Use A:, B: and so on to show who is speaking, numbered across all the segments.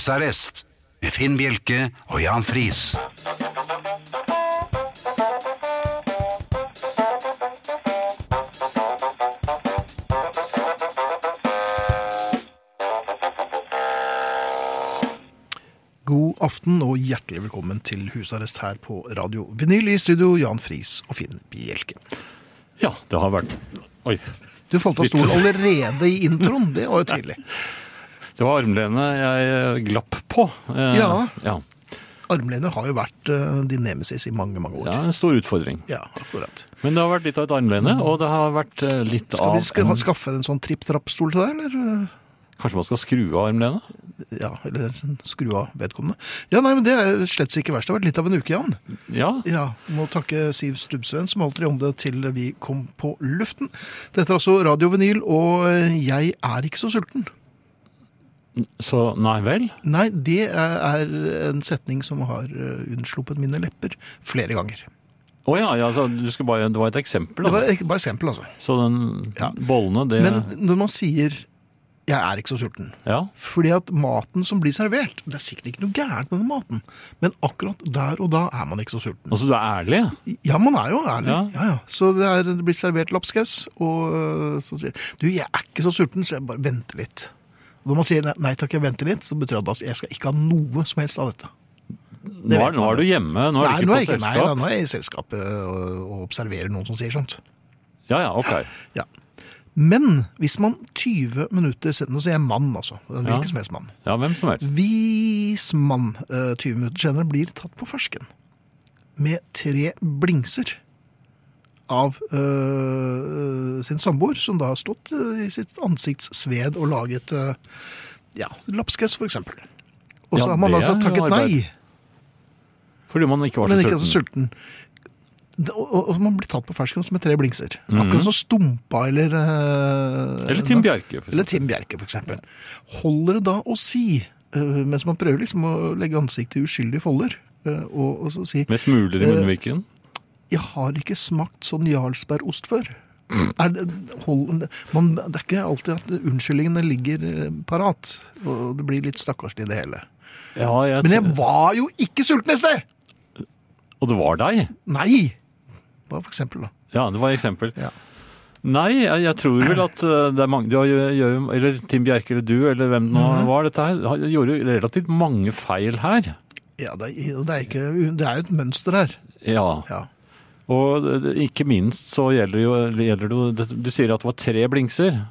A: Husarrest med Finn Bjelke og Jan Friis.
B: God aften og hjertelig velkommen til husarrest her på Radio Vinyl. I studio Jan Friis og Finn Bjelke.
C: Ja, det har vært Oi.
B: Du falt av stolen allerede i introen. Det var jo tidlig.
C: Det var armlenet jeg eh, glapp på. Eh,
B: Ja.
C: ja.
B: Armlener har jo vært eh, din nemesis i mange, mange
C: Det
B: år.
C: er en stor utfordring.
B: Ja, akkurat.
C: Men det har vært litt av et armlene, og det har vært eh, litt
B: Skal
C: av
B: vi skal,
C: en,
B: skaffe en sånn tripp-trapp-stol til deg, eller? eh,
C: Kanskje man skal skru av armlenet?
B: Ja, eller sånn skru av vedkommende. Ja, nei, men det er slett ikke verst. Det har vært litt av en uke, Jan.
C: Ja.
B: Ja, må takke Siv Stubbsveen som holdt i om det til vi kom på luften. Dette er altså Radio Vinyl, og eh, jeg er ikke så sulten.
C: Så nei vel?
B: Nei, det er en setning som har eh, unnsluppet mine lepper flere ganger.
C: Å ja, ja altså, du skal bare, det var et eksempel.
B: Det var
C: Altså.
B: ek- bare eksempel, altså.
C: Så den
B: Ja.
C: bollene, det
B: Men når man sier 'jeg er ikke så sulten'
C: Ja.
B: Fordi at maten som blir servert Det er sikkert ikke noe gærent med den maten, men akkurat der og da er man ikke så sulten.
C: Altså, du er ærlig?
B: Ja, man er jo ærlig.
C: Ja.
B: Ja, ja. Så det, er, det blir servert lapskaus, og øh, så sier jeg, du, jeg er ikke så sulten, så jeg bare venter litt. Og når man sier nei, nei takk, jeg venter litt, så betyr det at altså, jeg skal ikke ha noe som helst av dette.
C: Nå
B: vet
C: er, nå er du hjemme, nå er
B: Nei,
C: du
B: nå
C: ikke
B: er jeg ikke-
C: på
B: Nei, da,
C: selskap?
B: nå er jeg i selskapet og, og observerer noen som sier sånt.
C: Ja ja, ok.
B: Ja. Men hvis man 20 minutter sen- Nå sier jeg mann, altså. Hvilken
C: Ja.
B: som helst mann.
C: Ja, hvem som helst.
B: Hvis man eh, 20 minutter senere blir tatt på fersken med tre blingser av eh, sin samboer, som da har stått eh, i sitt ansiktssved og laget eh, ja, lapskaus, for eksempel. Og så
C: Ja,
B: har man
C: det
B: altså
C: er jo
B: takket
C: arbeid.
B: nei.
C: Fordi man ikke var
B: Men
C: så
B: ikke er
C: sulten.
B: så sulten. Det- Og, og, og man blir tatt på fersken med tre blingser. Akkurat som Stumpa eller eh,
C: Mhm. Eller Tim Bjerke. For
B: Eller
C: eksempel.
B: Tim Bjerke, for eksempel. Holder det da å si, eh, mens man prøver liksom å legge ansiktet i uskyldige folder, eh, og, og så si
C: Med smuler i
B: Eh,
C: munnviken.
B: 'Jeg har ikke smakt sånn Jarlsbergost før'. Er det, hold, man, det er ikke alltid at unnskyldningene ligger eh, parat. Og det blir litt stakkarslig, det hele.
C: Ja, jeg,
B: Men jeg var jo ikke sulten i sted!
C: Og det var deg?
B: Nei! Hva for eksempel, da?
C: Ja, det var et eksempel.
B: Ja.
C: Nei, jeg, jeg tror vel at eh, det er mange det gjør, gjør, Eller Tim Bjerke eller du, eller hvem det nå
B: Mhm.
C: var, dette her, har- gjorde jo relativt mange feil her.
B: Ja, det er, det er, ikke, det er jo et mønster her.
C: Ja.
B: Ja.
C: Og det- det- ikke minst så gjelder jo gjelder det, jo- det, Du sier at det var tre blingser.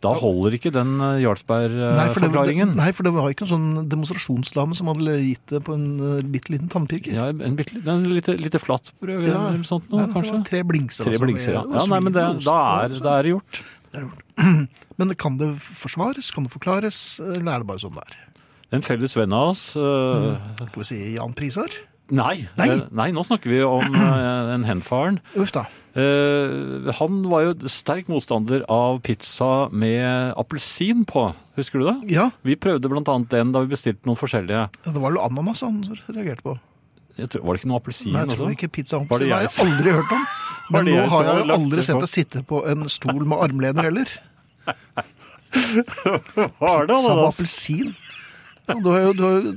C: Da holder ikke den
B: Mhm.
C: eh,
B: Nei, for det, det,
C: Jarlsberg-forklaringen.
B: nei, for det var ikke en sånn demonstrasjonsdame som hadde gitt det på en eh, bitte liten tannpirker.
C: Ja, en bitte en lite, lite flatt brød eller
B: Ja.
C: noe sånt
B: Nei,
C: noe,
B: det var
C: kanskje.
B: Tre blingser.
C: Tre
B: altså,
C: blingser, ja.
B: med-
C: ja nei, men det,
B: med
C: da
B: ost,
C: er
B: altså.
C: da er det gjort.
B: Det er gjort. Men kan det forsvares? Kan det forklares? Eller er det bare sånn det er?
C: En felles venn av oss eh,
B: Skal vi si Jan Prisar?
C: Nei.
B: Nei.
C: eh, nei, nå snakker vi om eh, en henfaren.
B: Uff da.
C: Eh, han var jo sterk motstander av pizza med appelsin på. Husker du det?
B: Ja,
C: Vi prøvde blant annet den da vi bestilte noen forskjellige.
B: ja, det var vel ananas han reagerte på.
C: Jeg tror, var det ikke noe appelsin
B: Nei, jeg
C: også?
B: tror ikke pizza
C: altså? Var
B: Homsi. Det
C: det
B: har
C: jeg
B: jeg aldri hørt om.
C: Var
B: Men
C: det
B: nå
C: jeg
B: har
C: som
B: jeg
C: lagt
B: aldri
C: det
B: sett
C: på?
B: deg sitte på en stol med armlener heller.
C: Var det
B: Samme
C: ananas?
B: appelsin. Ja, Du har jo, du har jo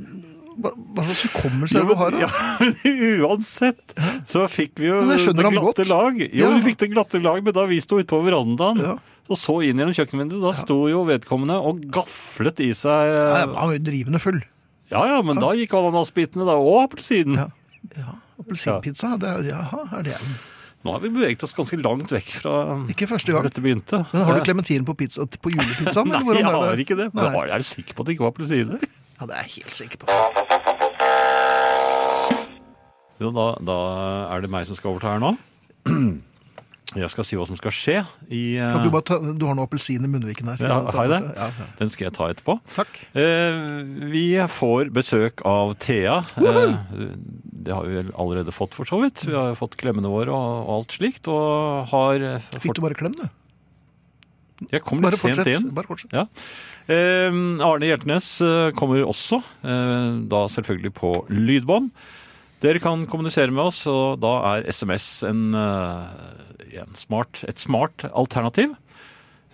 B: hva, hva slags hukommelse er
C: Jo,
B: det
C: men-
B: du har? da?
C: ja, men uansett så fikk vi jo
B: Men jeg skjønner
C: det
B: han
C: glatte
B: godt.
C: lag. Jo,
B: Ja.
C: vi fikk det glatte lag, men da vi sto ute på verandaen
B: Ja.
C: og så inn gjennom kjøkkenvinduet, da sto jo vedkommende og gaflet i seg
B: Nei,
C: eh,
B: Han var jo drivende full.
C: Ja ja, men da gikk ananasbitene da, og appelsinen.
B: Ja. ja. Appelsinpizza, det er, jaha, er det en.
C: Nå har vi beveget oss ganske langt vekk fra
B: Ikke første gang.
C: dette begynte.
B: Men har du
C: Eh,
B: klementin på, pizza, på julepizzaen?
C: Nei,
B: eller hvordan
C: jeg
B: er det?
C: har ikke det. Men
B: Nei.
C: jeg er sikker på at det ikke var appelsiner.
B: Ja, det er jeg helt sikker på.
C: Jo, da, da er det meg som skal overta her nå. Jeg skal si hva som skal skje i eh,
B: Kan du, bare ta, du har noe appelsin i munnviken her.
C: ja, Har jeg det?
B: Ja, ja.
C: Den skal jeg ta etterpå.
B: Takk.
C: Eh, vi får besøk av Thea. Eh, det har vi vel allerede fått, for så vidt. Vi har fått klemmene våre og, og alt slikt. Og har eh,
B: Fikk
C: fått
B: du bare klem, du?
C: Jeg kom
B: Bare
C: litt sent
B: fortsett.
C: inn.
B: Bare fortsett.
C: Ja. Eh, Arne Hjeltnes eh, kommer også, eh, da selvfølgelig på lydbånd. Dere kan kommunisere med oss, og da er SMS en, eh, en smart, et smart alternativ.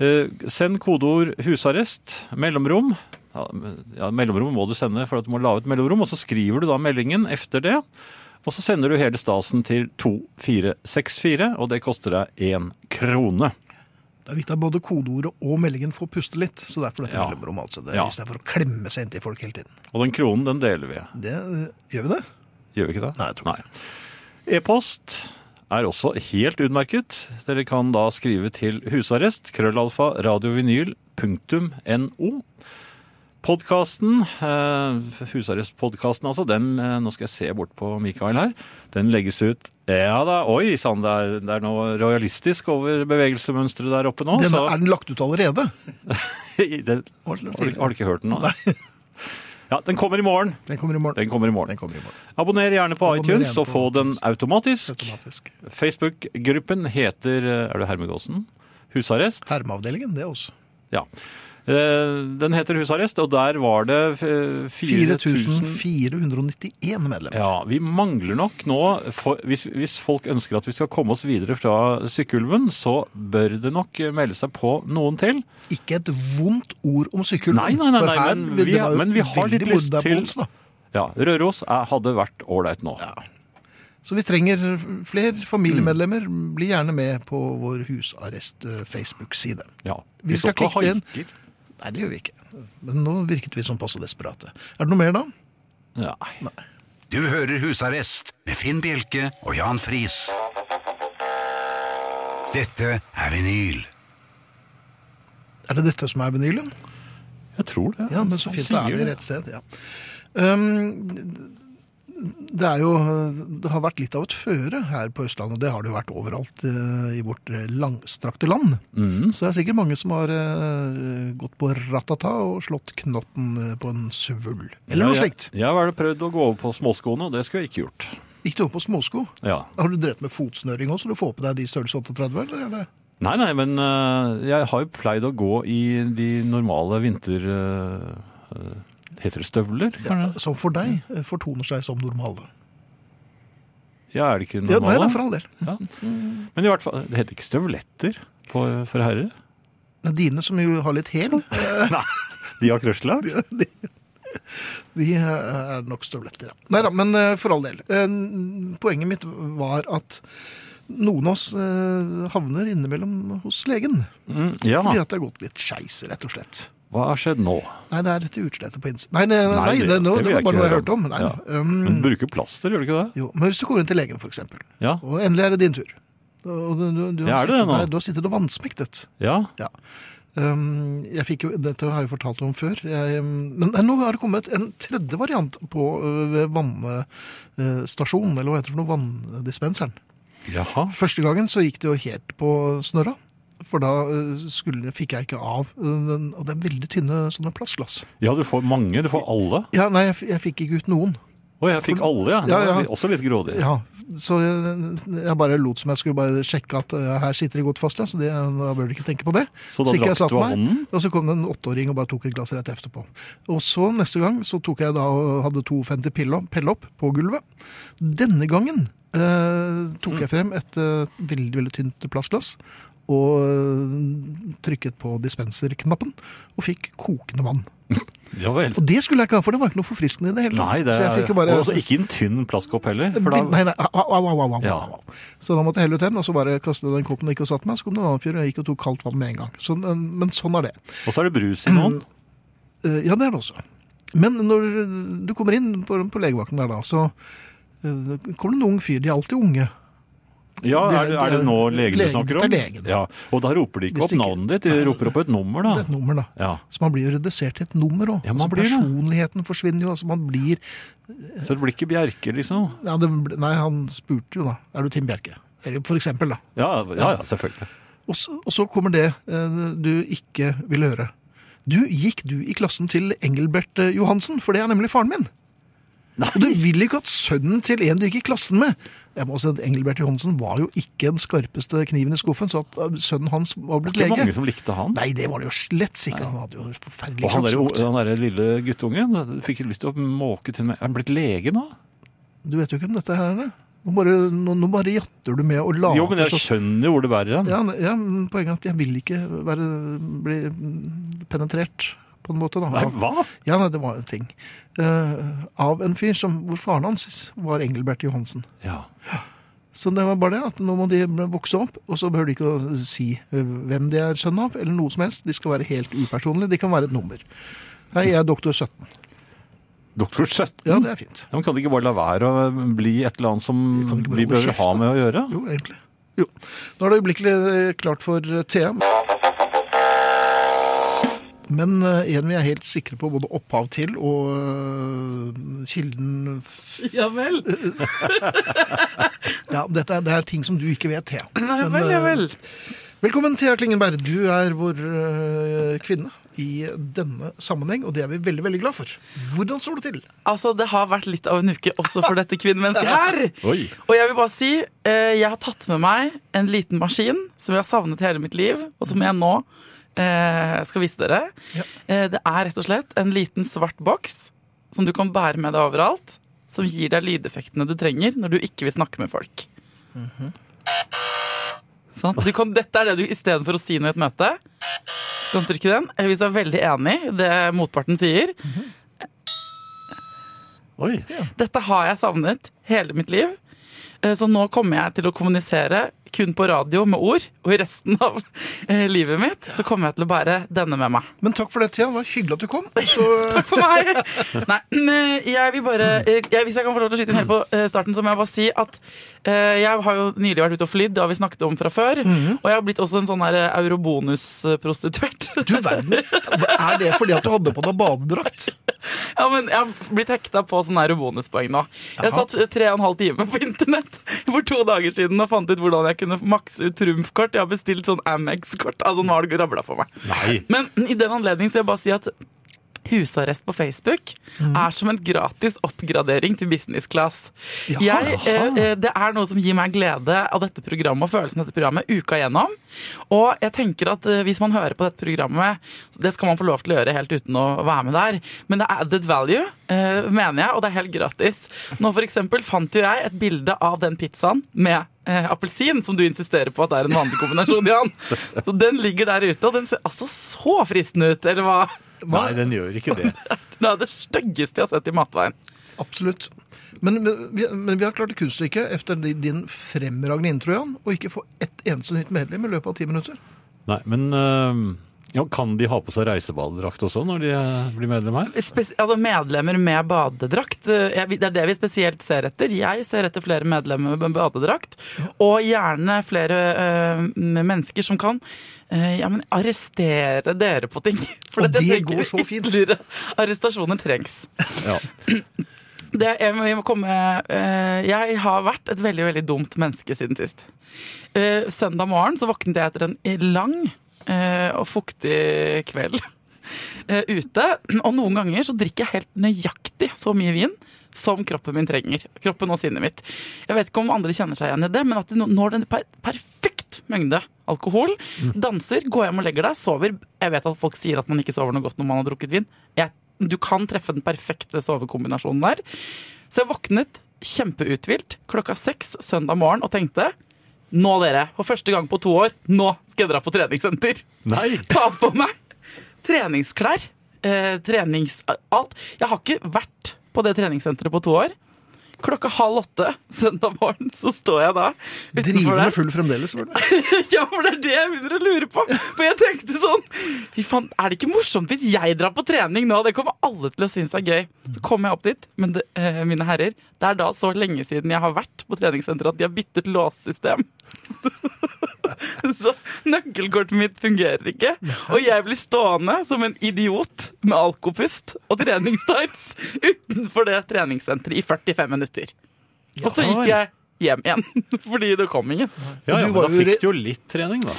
C: Eh, send kodeord 'husarrest', mellomrom, ja, ja, mellomrom må du sende, for at du må lage et mellomrom. Og så skriver du da meldingen efter det. Og så sender du hele stasen til 2464, og det koster deg én krone.
B: Det er viktig at både kodeordet og meldingen får puste litt. Så derfor dette
C: Ja.
B: mellomrom, altså. Det,
C: Ja.
B: I stedet for å klemme seg inntil folk hele tiden.
C: Og den kronen, den deler vi.
B: Det, eh, gjør vi det?
C: Gjør vi ikke det?
B: Nei, jeg tror ikke
C: Nei. E-post er også helt utmerket. Dere kan da skrive til husarrest, krøllalfa, radiovinyl, punktum no. Podkasten, eh, husarrestpodkasten altså, den, eh, nå skal jeg se bort på Mikael her, den legges ut Ja da, oi sann, det, er- det er noe rojalistisk over bevegelsemønsteret der oppe nå.
B: Den,
C: så-
B: er den lagt ut allerede?
C: i- det, har,
B: Har du-
C: du, har du ikke hørt den nå? Ja, den kommer i morgen.
B: Den kommer i morgen.
C: Den kommer i morgen.
B: Den kommer i morgen.
C: Abonner gjerne på
B: Abonner
C: iTunes
B: gjerne
C: og
B: på
C: få den
B: iTunes.
C: automatisk.
B: Automatisk.
C: Facebook-gruppen heter eh, Er det Hermegåsen? Husarrest.
B: Hermeavdelingen, det også.
C: Ja. Eh, Den heter Husarrest, og der var det eh, 4000
B: 4491 medlemmer.
C: ja, Vi mangler nok nå for, hvis, hvis folk ønsker at vi skal komme oss videre fra Sykkylven, så bør det nok eh, melde seg på noen til.
B: Ikke et vondt ord om sykkel.
C: Nei, nei, nei,
B: for
C: nei,
B: her
C: men
B: vil det
C: vi-
B: være
C: men vi har litt
B: veldig moro
C: lyst
B: der på
C: til-
B: Onsdag.
C: Ja, Røros eh, hadde vært ålreit nå.
B: Så vi trenger flere familiemedlemmer.
C: Mm.
B: Bli gjerne med på vår eh, husarrest-Facebook-side.
C: Ja.
B: Vi
C: står
B: skal
C: ikke og
B: klikke den.
C: haiker.
B: Nei, det gjør vi ikke. Men nå virket vi som passe desperate. Er det noe mer, da?
C: Nei.
A: Du hører Husarrest med Finn Bjelke og Jan Friis. Dette er vinyl.
B: Er det dette som er vinylen?
C: Jeg tror det.
B: Ja, men så
C: Han
B: fint. Da
C: sier
B: er vi
C: det.
B: rett sted. Ja. Um, det er jo Det har vært litt av et føre her på Østlandet, og det har det jo vært overalt eh, i vårt eh, langstrakte land.
C: Mhm.
B: Så det er sikkert mange som har eh, gått på ratata og slått knotten eh, på en svulm. Eller noe
C: Ja,
B: slikt.
C: Jeg, jeg har vel prøvd å gå over på småskoene, og det skulle jeg ikke gjort.
B: Gikk du opp på småsko?
C: Ja.
B: Har du drevet med fotsnøring òg, så du får på deg de størrelse 38? Eller? er det-
C: Nei, nei, men øh, jeg har jo pleid å gå i de normale vinter... øh, øh, heter det støvler? Ja.
B: Som for deg eh, fortoner seg som normale.
C: ja, er det ikke
B: Ja, nei,
C: normale?
B: da, for all del.
C: Ja. Men i hvert fall, det heter ikke støvletter på, for herrer.
B: Men Dine som jo har litt hæl,
C: De har krøsler.
B: de, de er nok støvletter. Ja. Nei da, men eh, for all del. Eh, Poenget mitt var at noen av oss eh, havner innimellom hos legen.
C: Mm, ja,
B: Fordi at det har gått litt skeis, rett og slett.
C: hva har skjedd nå?
B: Nei, det er dette utslettet på innsiden. Nei, nei, nei,
C: Nei,
B: det,
C: det-
B: nå-
C: det vil
B: det
C: jeg
B: var bare
C: ikke
B: noe jeg
C: høre
B: hørte
C: om.
B: om. Nei,
C: Ja. Men
B: um,
C: bruker plaster, gjør du ikke det?
B: jo, men hvis du kommer inn til legen, for eksempel,
C: Mm. Ja,
B: og endelig er det din tur. Og du, du, du,
C: Ja,
B: har
C: er det
B: sittet
C: det nå?
B: der- du har sittet og vannsmektet.
C: ja.
B: Ja. Um, jeg fikk jo, dette har jeg jo fortalt om før. Jeg, um, men nei, nå har det kommet en tredje variant på øh, vannstasjonen, øh, eller hva heter det for noe, vanndispenseren.
C: Jaha.
B: Første gangen så gikk det jo helt på snørra. For da øh, skulle, fikk jeg ikke av øh, den, Og det er veldig tynne sånne plastglass.
C: Ja, du får mange, du får alle.
B: Ja, nei, jeg, f- jeg fikk ikke ut noen.
C: Å, jeg fikk alle, ja. Det
B: Ja, ja.
C: var Også litt grådig.
B: Ja, Så jeg, jeg bare lot som jeg skulle bare sjekke at øh, her sitter det godt fast, ja. Så det, da bør du ikke tenke på det.
C: Så
B: Så
C: da
B: gikk jeg
C: drakk
B: og satte
C: du av
B: meg.
C: hånden?
B: Og så kom det en åtteåring og bare tok et glass rett etterpå. Og så neste gang så tok jeg da og hadde 52 pille opp, pelle opp på gulvet. Denne gangen eh, tok
C: Mm.
B: jeg frem et eh, veldig, veldig tynt plastglass og eh, trykket på dispenserknappen og fikk kokende vann.
C: Ja vel.
B: Og det skulle jeg ikke ha, for det var ikke noe forfriskende i det hele
C: Nei,
B: tatt.
C: det
B: så jeg
C: er
B: fikk jo bare...
C: og altså ikke en tynn plastkopp heller. For da,
B: Nei, nei, au, au, au, au, au,
C: Ja.
B: au. Så da måtte jeg helle ut den, og så bare kastet jeg den koppen og gikk og satte meg. Så kom det en annen fyr, og jeg gikk og tok kaldt vann med en gang. Så, eh, men sånn er det.
C: Og så er det brus i noen.
B: Eh, Ja, det er det også. Men når du kommer inn på, på legevakten der da, så eh, kommer det en ung fyr. De er alltid unge.
C: Ja, er det, er det nå legen du
B: Legen,
C: snakker om?
B: det er legen.
C: Ja, Og da roper de ikke
B: Hvis
C: opp
B: ikke-
C: navnet ditt, de roper opp et nummer,
B: Det er et
C: da.
B: nummer, da.
C: Ja,
B: Så man blir jo redusert til et nummer òg.
C: Ja, man blir det.
B: personligheten forsvinner jo. Altså man blir
C: Så det blir ikke Bjerke, liksom?
B: ja, det, ble- Nei, han spurte jo da. Er du Tim Bjerke? Eller for eksempel, da.
C: Ja, ja, ja selvfølgelig.
B: Og så, og så kommer det eh, du ikke vil høre. Du, gikk du i klassen til Engelbert eh, Johansen? For det er nemlig faren min. Og du vil ikke at sønnen til en du gikk i klassen med Jeg må si at Engelbert Johansen var jo ikke den skarpeste kniven i skuffen, så at eh, sønnen hans var blitt
C: Det er mange
B: lege
C: som likte han.
B: Nei, det var det jo slett ikke. Han hadde jo forferdelig
C: Og han der,
B: kroppslukt.
C: han der lille guttungen han fikk lyst til å måke til meg. Er han blitt lege nå?
B: Du vet jo ikke om dette her er. Nå bare, nå, nå bare jatter du med og later
C: Jo, men jeg
B: som-
C: skjønner jo hvor det bærer hen.
B: ja, ne- ja, men Poenget er at jeg vil ikke være, bli penetrert på en måte. Da.
C: Nei,
B: Av-
C: hva?
B: Ja, nei, det var en ting. Eh, av en fyr som, hvor faren hans var Engelbert Johansen.
C: Ja.
B: Så det var bare det at nå må de vokse opp, og så behøver de ikke å si eh, hvem de er sønn av, eller noe som helst. De skal være helt upersonlige. De kan være et nummer. Nei, jeg er doktor 17.
C: Doktor 17?
B: Ja, det er fint.
C: Ja, men kan det ikke bare la være å eh, bli et eller annet som
B: Kan det ikke bare
C: vi
B: holde
C: bør
B: kjeft,
C: ha
B: da?
C: med å gjøre?
B: Jo, egentlig. Jo. Nå er det øyeblikkelig eh, klart for eh, Thea. Men eh, en vi er helt sikre på både opphav til og eh, kilden
D: Ja vel.
B: Ja, dette er, det er ting som du ikke vet, Thea.
D: Nei
B: Men,
D: vel, ja
B: eh,
D: vel.
B: Velkommen, Thea Klingenberg. Du er vår eh, kvinne i denne sammenheng, og det er vi veldig, veldig glad for. Hvordan står det til?
D: Altså, det har vært litt av en uke også for dette kvinnemennesket her.
C: Oi.
D: Og jeg vil bare si, eh, jeg har tatt med meg en liten maskin som jeg har savnet hele mitt liv, og som jeg nå eh, skal vise dere.
B: Ja.
D: Eh, det er rett og slett en liten svart boks som du kan bære med deg overalt, som gir deg lydeffektene du trenger når du ikke vil snakke med folk. Sant? Du kan, dette er det du istedenfor å si noe i et møte, så kan du trykke den. Eller hvis du er veldig enig i det motparten sier.
C: Oi.
D: Dette har jeg savnet hele mitt liv. Eh, Så nå kommer jeg til å kommunisere kun på radio med ord, og i resten av eh, livet mitt så kommer jeg til å bære denne med meg.
B: Men takk for det, Thea. Det var hyggelig at du kom. Så,
D: Takk for meg! Nei, eh, jeg vil bare eh, jeg, Hvis jeg kan få lov til å skyte inn helt på eh, starten, så må jeg bare si at eh, jeg har jo nylig vært ute og flydd, det har vi snakket om fra før, og jeg har blitt også en sånn her eh, eurobonus-prostituert.
B: du verden. Er det fordi at du hadde på deg badedrakt?
D: Ja, men jeg har blitt hekta på sånne her bonuspoeng nå. Jeg
B: Jaha.
D: satt tre og en halv time på internett for to dager siden og fant ut hvordan jeg kunne makse ut trumfkort. Jeg har bestilt sånn Amex-kort. Altså, nå har det rabla for meg.
C: Nei.
D: Men i den anledning så vil jeg bare si at Husarrest på Facebook er som en gratis oppgradering til business class.
B: Ja,
D: jeg, eh, eh, det er noe som gir meg glede av dette programmet og følelsen av dette programmet uka gjennom. Og jeg tenker at eh, hvis man hører på dette programmet, så det skal man få lov til å gjøre helt uten å være med der. Men det er added value, eh, mener jeg, og det er helt gratis. Nå for eksempel fant jo jeg et bilde av den pizzaen med eh, appelsin, som du insisterer på at er en vanlig kombinasjon, Jan. Så den ligger der ute, og den ser altså så fristende ut, eller hva?
B: Hva?
C: Nei, den gjør ikke det.
D: Det er det styggeste jeg har sett i matveien.
B: Absolutt. Men vi, men vi har klart det kunststykket etter din fremragende intro, Jan, å ikke få ett eneste nytt medlem i løpet av ti minutter.
C: Nei, men øhm, ja, kan de ha på seg reisebadedrakt også når de eh, blir medlem her?
D: Spes altså medlemmer med badedrakt, eh, jeg, det er det vi spesielt ser etter. Jeg ser etter flere medlemmer med badedrakt, og gjerne flere eh, mennesker som kan eh, ja, men arrestere dere på ting.
B: Og
D: at
B: det
D: jeg tenker
B: går så fint.
D: ytterligere Arrestasjoner trengs.
C: Ja.
D: Det, jeg, må- jeg, må komme, eh, jeg har vært et veldig, veldig dumt menneske siden sist. Eh, søndag morgen så våknet jeg etter en lang eh, og fuktig kveld eh, ute. Og noen ganger så drikker jeg helt nøyaktig så mye vin som kroppen min trenger. Kroppen og sinnet mitt. Jeg vet ikke om andre kjenner seg igjen i det, men at du nå- når den per perfekt mengde alkohol, danser, går hjem og legger deg, sover Jeg vet at folk sier at man ikke sover noe godt når man har drukket vin. Jeg, du kan treffe den perfekte sovekombinasjonen der. Så jeg våknet kjempeuthvilt klokka seks søndag morgen og tenkte nå, dere, for første gang på to år, nå skal jeg dra på treningssenter.
C: Nei!
D: Ta på meg treningsklær. Eh, trenings... Alt. Jeg har ikke vært på det treningssenteret på to år. Klokka halv åtte søndag morgen så står jeg da utenfor
B: Drivende
D: der.
B: full fremdeles, selvfølgelig.
D: Ja, for det er det jeg begynner å lure på. For jeg tenkte sånn Fy faen, er det ikke morsomt hvis jeg drar på trening nå? Det kommer alle til å synes er gøy. Så kom jeg opp dit, men det, eh, mine herrer, det er da så lenge siden jeg har vært på treningssenteret at de har byttet låssystem. så nøkkelkortet mitt fungerer ikke. Og jeg blir stående som en idiot med alkopust og treningstights utenfor det treningssenteret i 45 minutter. Og så gikk jeg hjem igjen, fordi det kom ingen.
C: Ja, ja,
B: Du
C: men
B: var
C: da
B: jo re-
C: fikk de jo litt trening, da.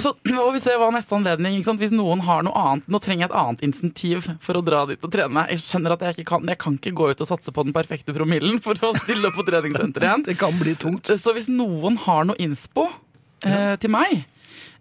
D: Så nå vil vi se hva neste anledning ikke sant? Hvis noen har noe annet Nå trenger jeg et annet insentiv for å dra dit og trene. Jeg skjønner at jeg ikke kan Jeg kan ikke gå ut og satse på den perfekte promillen for å stille opp på treningssenteret igjen.
B: Det kan bli tungt.
D: Så hvis noen har noe innspo eh, til meg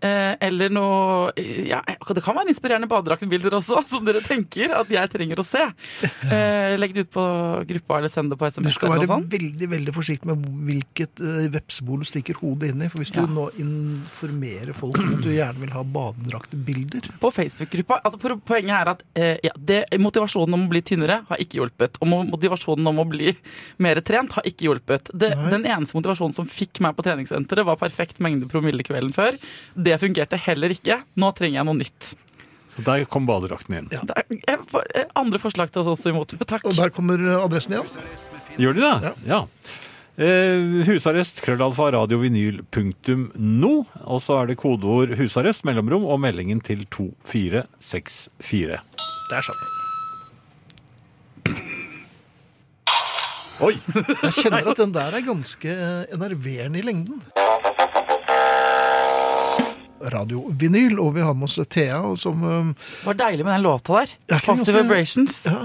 D: Eh, eller noe ja, Det kan være inspirerende badedraktbilder også, som dere tenker at jeg trenger å se. Eh, legg det ut på gruppa eller send det sånn?
B: Du
D: på SMS.
B: skal
D: eller
B: være
D: noe sånt.
B: veldig veldig forsiktig med hvilket eh, vepsebol du stikker hodet inn i. For hvis du
D: Ja.
B: nå informerer folk om at du gjerne vil ha badedraktbilder
D: På Facebook-gruppa. Altså, pro- poenget er at eh, ja, det, motivasjonen om å bli tynnere har ikke hjulpet. Og mo- motivasjonen om å bli mer trent har ikke hjulpet. Det,
B: Nei.
D: den eneste motivasjonen som fikk meg på treningssenteret, var perfekt mengde promille kvelden før. Det fungerte heller ikke. Nå trenger jeg noe nytt.
C: Så der kom badedrakten inn.
D: Det er, jeg, får- eh, andre forslag til oss også imot, men takk.
B: Og der kommer eh, adressen igjen.
C: Gjør de det? Ja. Eh, husarrest, krøllalfa, radiovinyl, punktum no. Og så er det kodeord husarrest, mellomrom og meldingen til 2464.
B: Der sa den.
C: Oi!
B: Jeg kjenner at den der er ganske eh, enerverende i lengden. Radiovinyl, og vi har med oss Thea, og som eh,
D: Det var deilig med den låta der.
B: Ja, ikke ganske-
D: Positive Vibrations.
B: Ja.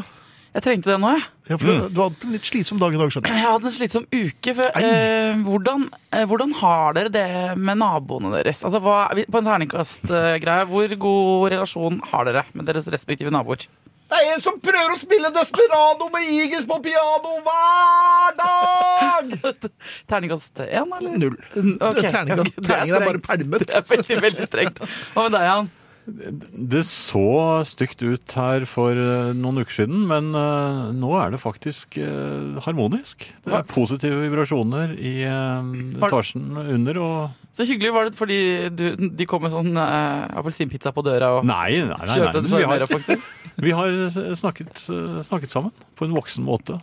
D: Jeg trengte det nå, jeg.
B: ja, for
D: Mm.
B: Du har hatt en litt slitsom dag i dag, skjønner jeg.
D: Jeg hadde en slitsom uke. For,
B: Ei.
D: eh, hvordan, eh, hvordan har dere det med naboene deres? Altså, hva, vi- på en terningkast-greie, hvor god relasjon har dere med deres respektive naboer?
E: Det er en som prøver å spille Desperado med Igels på piano hver dag!
D: Terningkast én, eller?
B: Null.
D: N- Mm. ok.
B: Terninga-
D: Ok, det
B: terningen er bare
D: strengt.
B: pælmet.
D: Det er veldig, veldig strengt. Hva med deg, Jan?
C: Det så stygt ut her for eh, noen uker siden, men eh, nå er det faktisk eh, harmonisk. Det er positive vibrasjoner i eh,
D: Har-
C: etasjen under og
D: Så hyggelig var det fordi du, de kom med sånn eh, appelsinpizza på døra og
C: Nei, nei, nei. nei.
D: kjørte den
C: Vi,
D: sånn mer
C: har,
D: offensivt.
C: vi har eh, snakket, eh, snakket sammen på en voksen måte.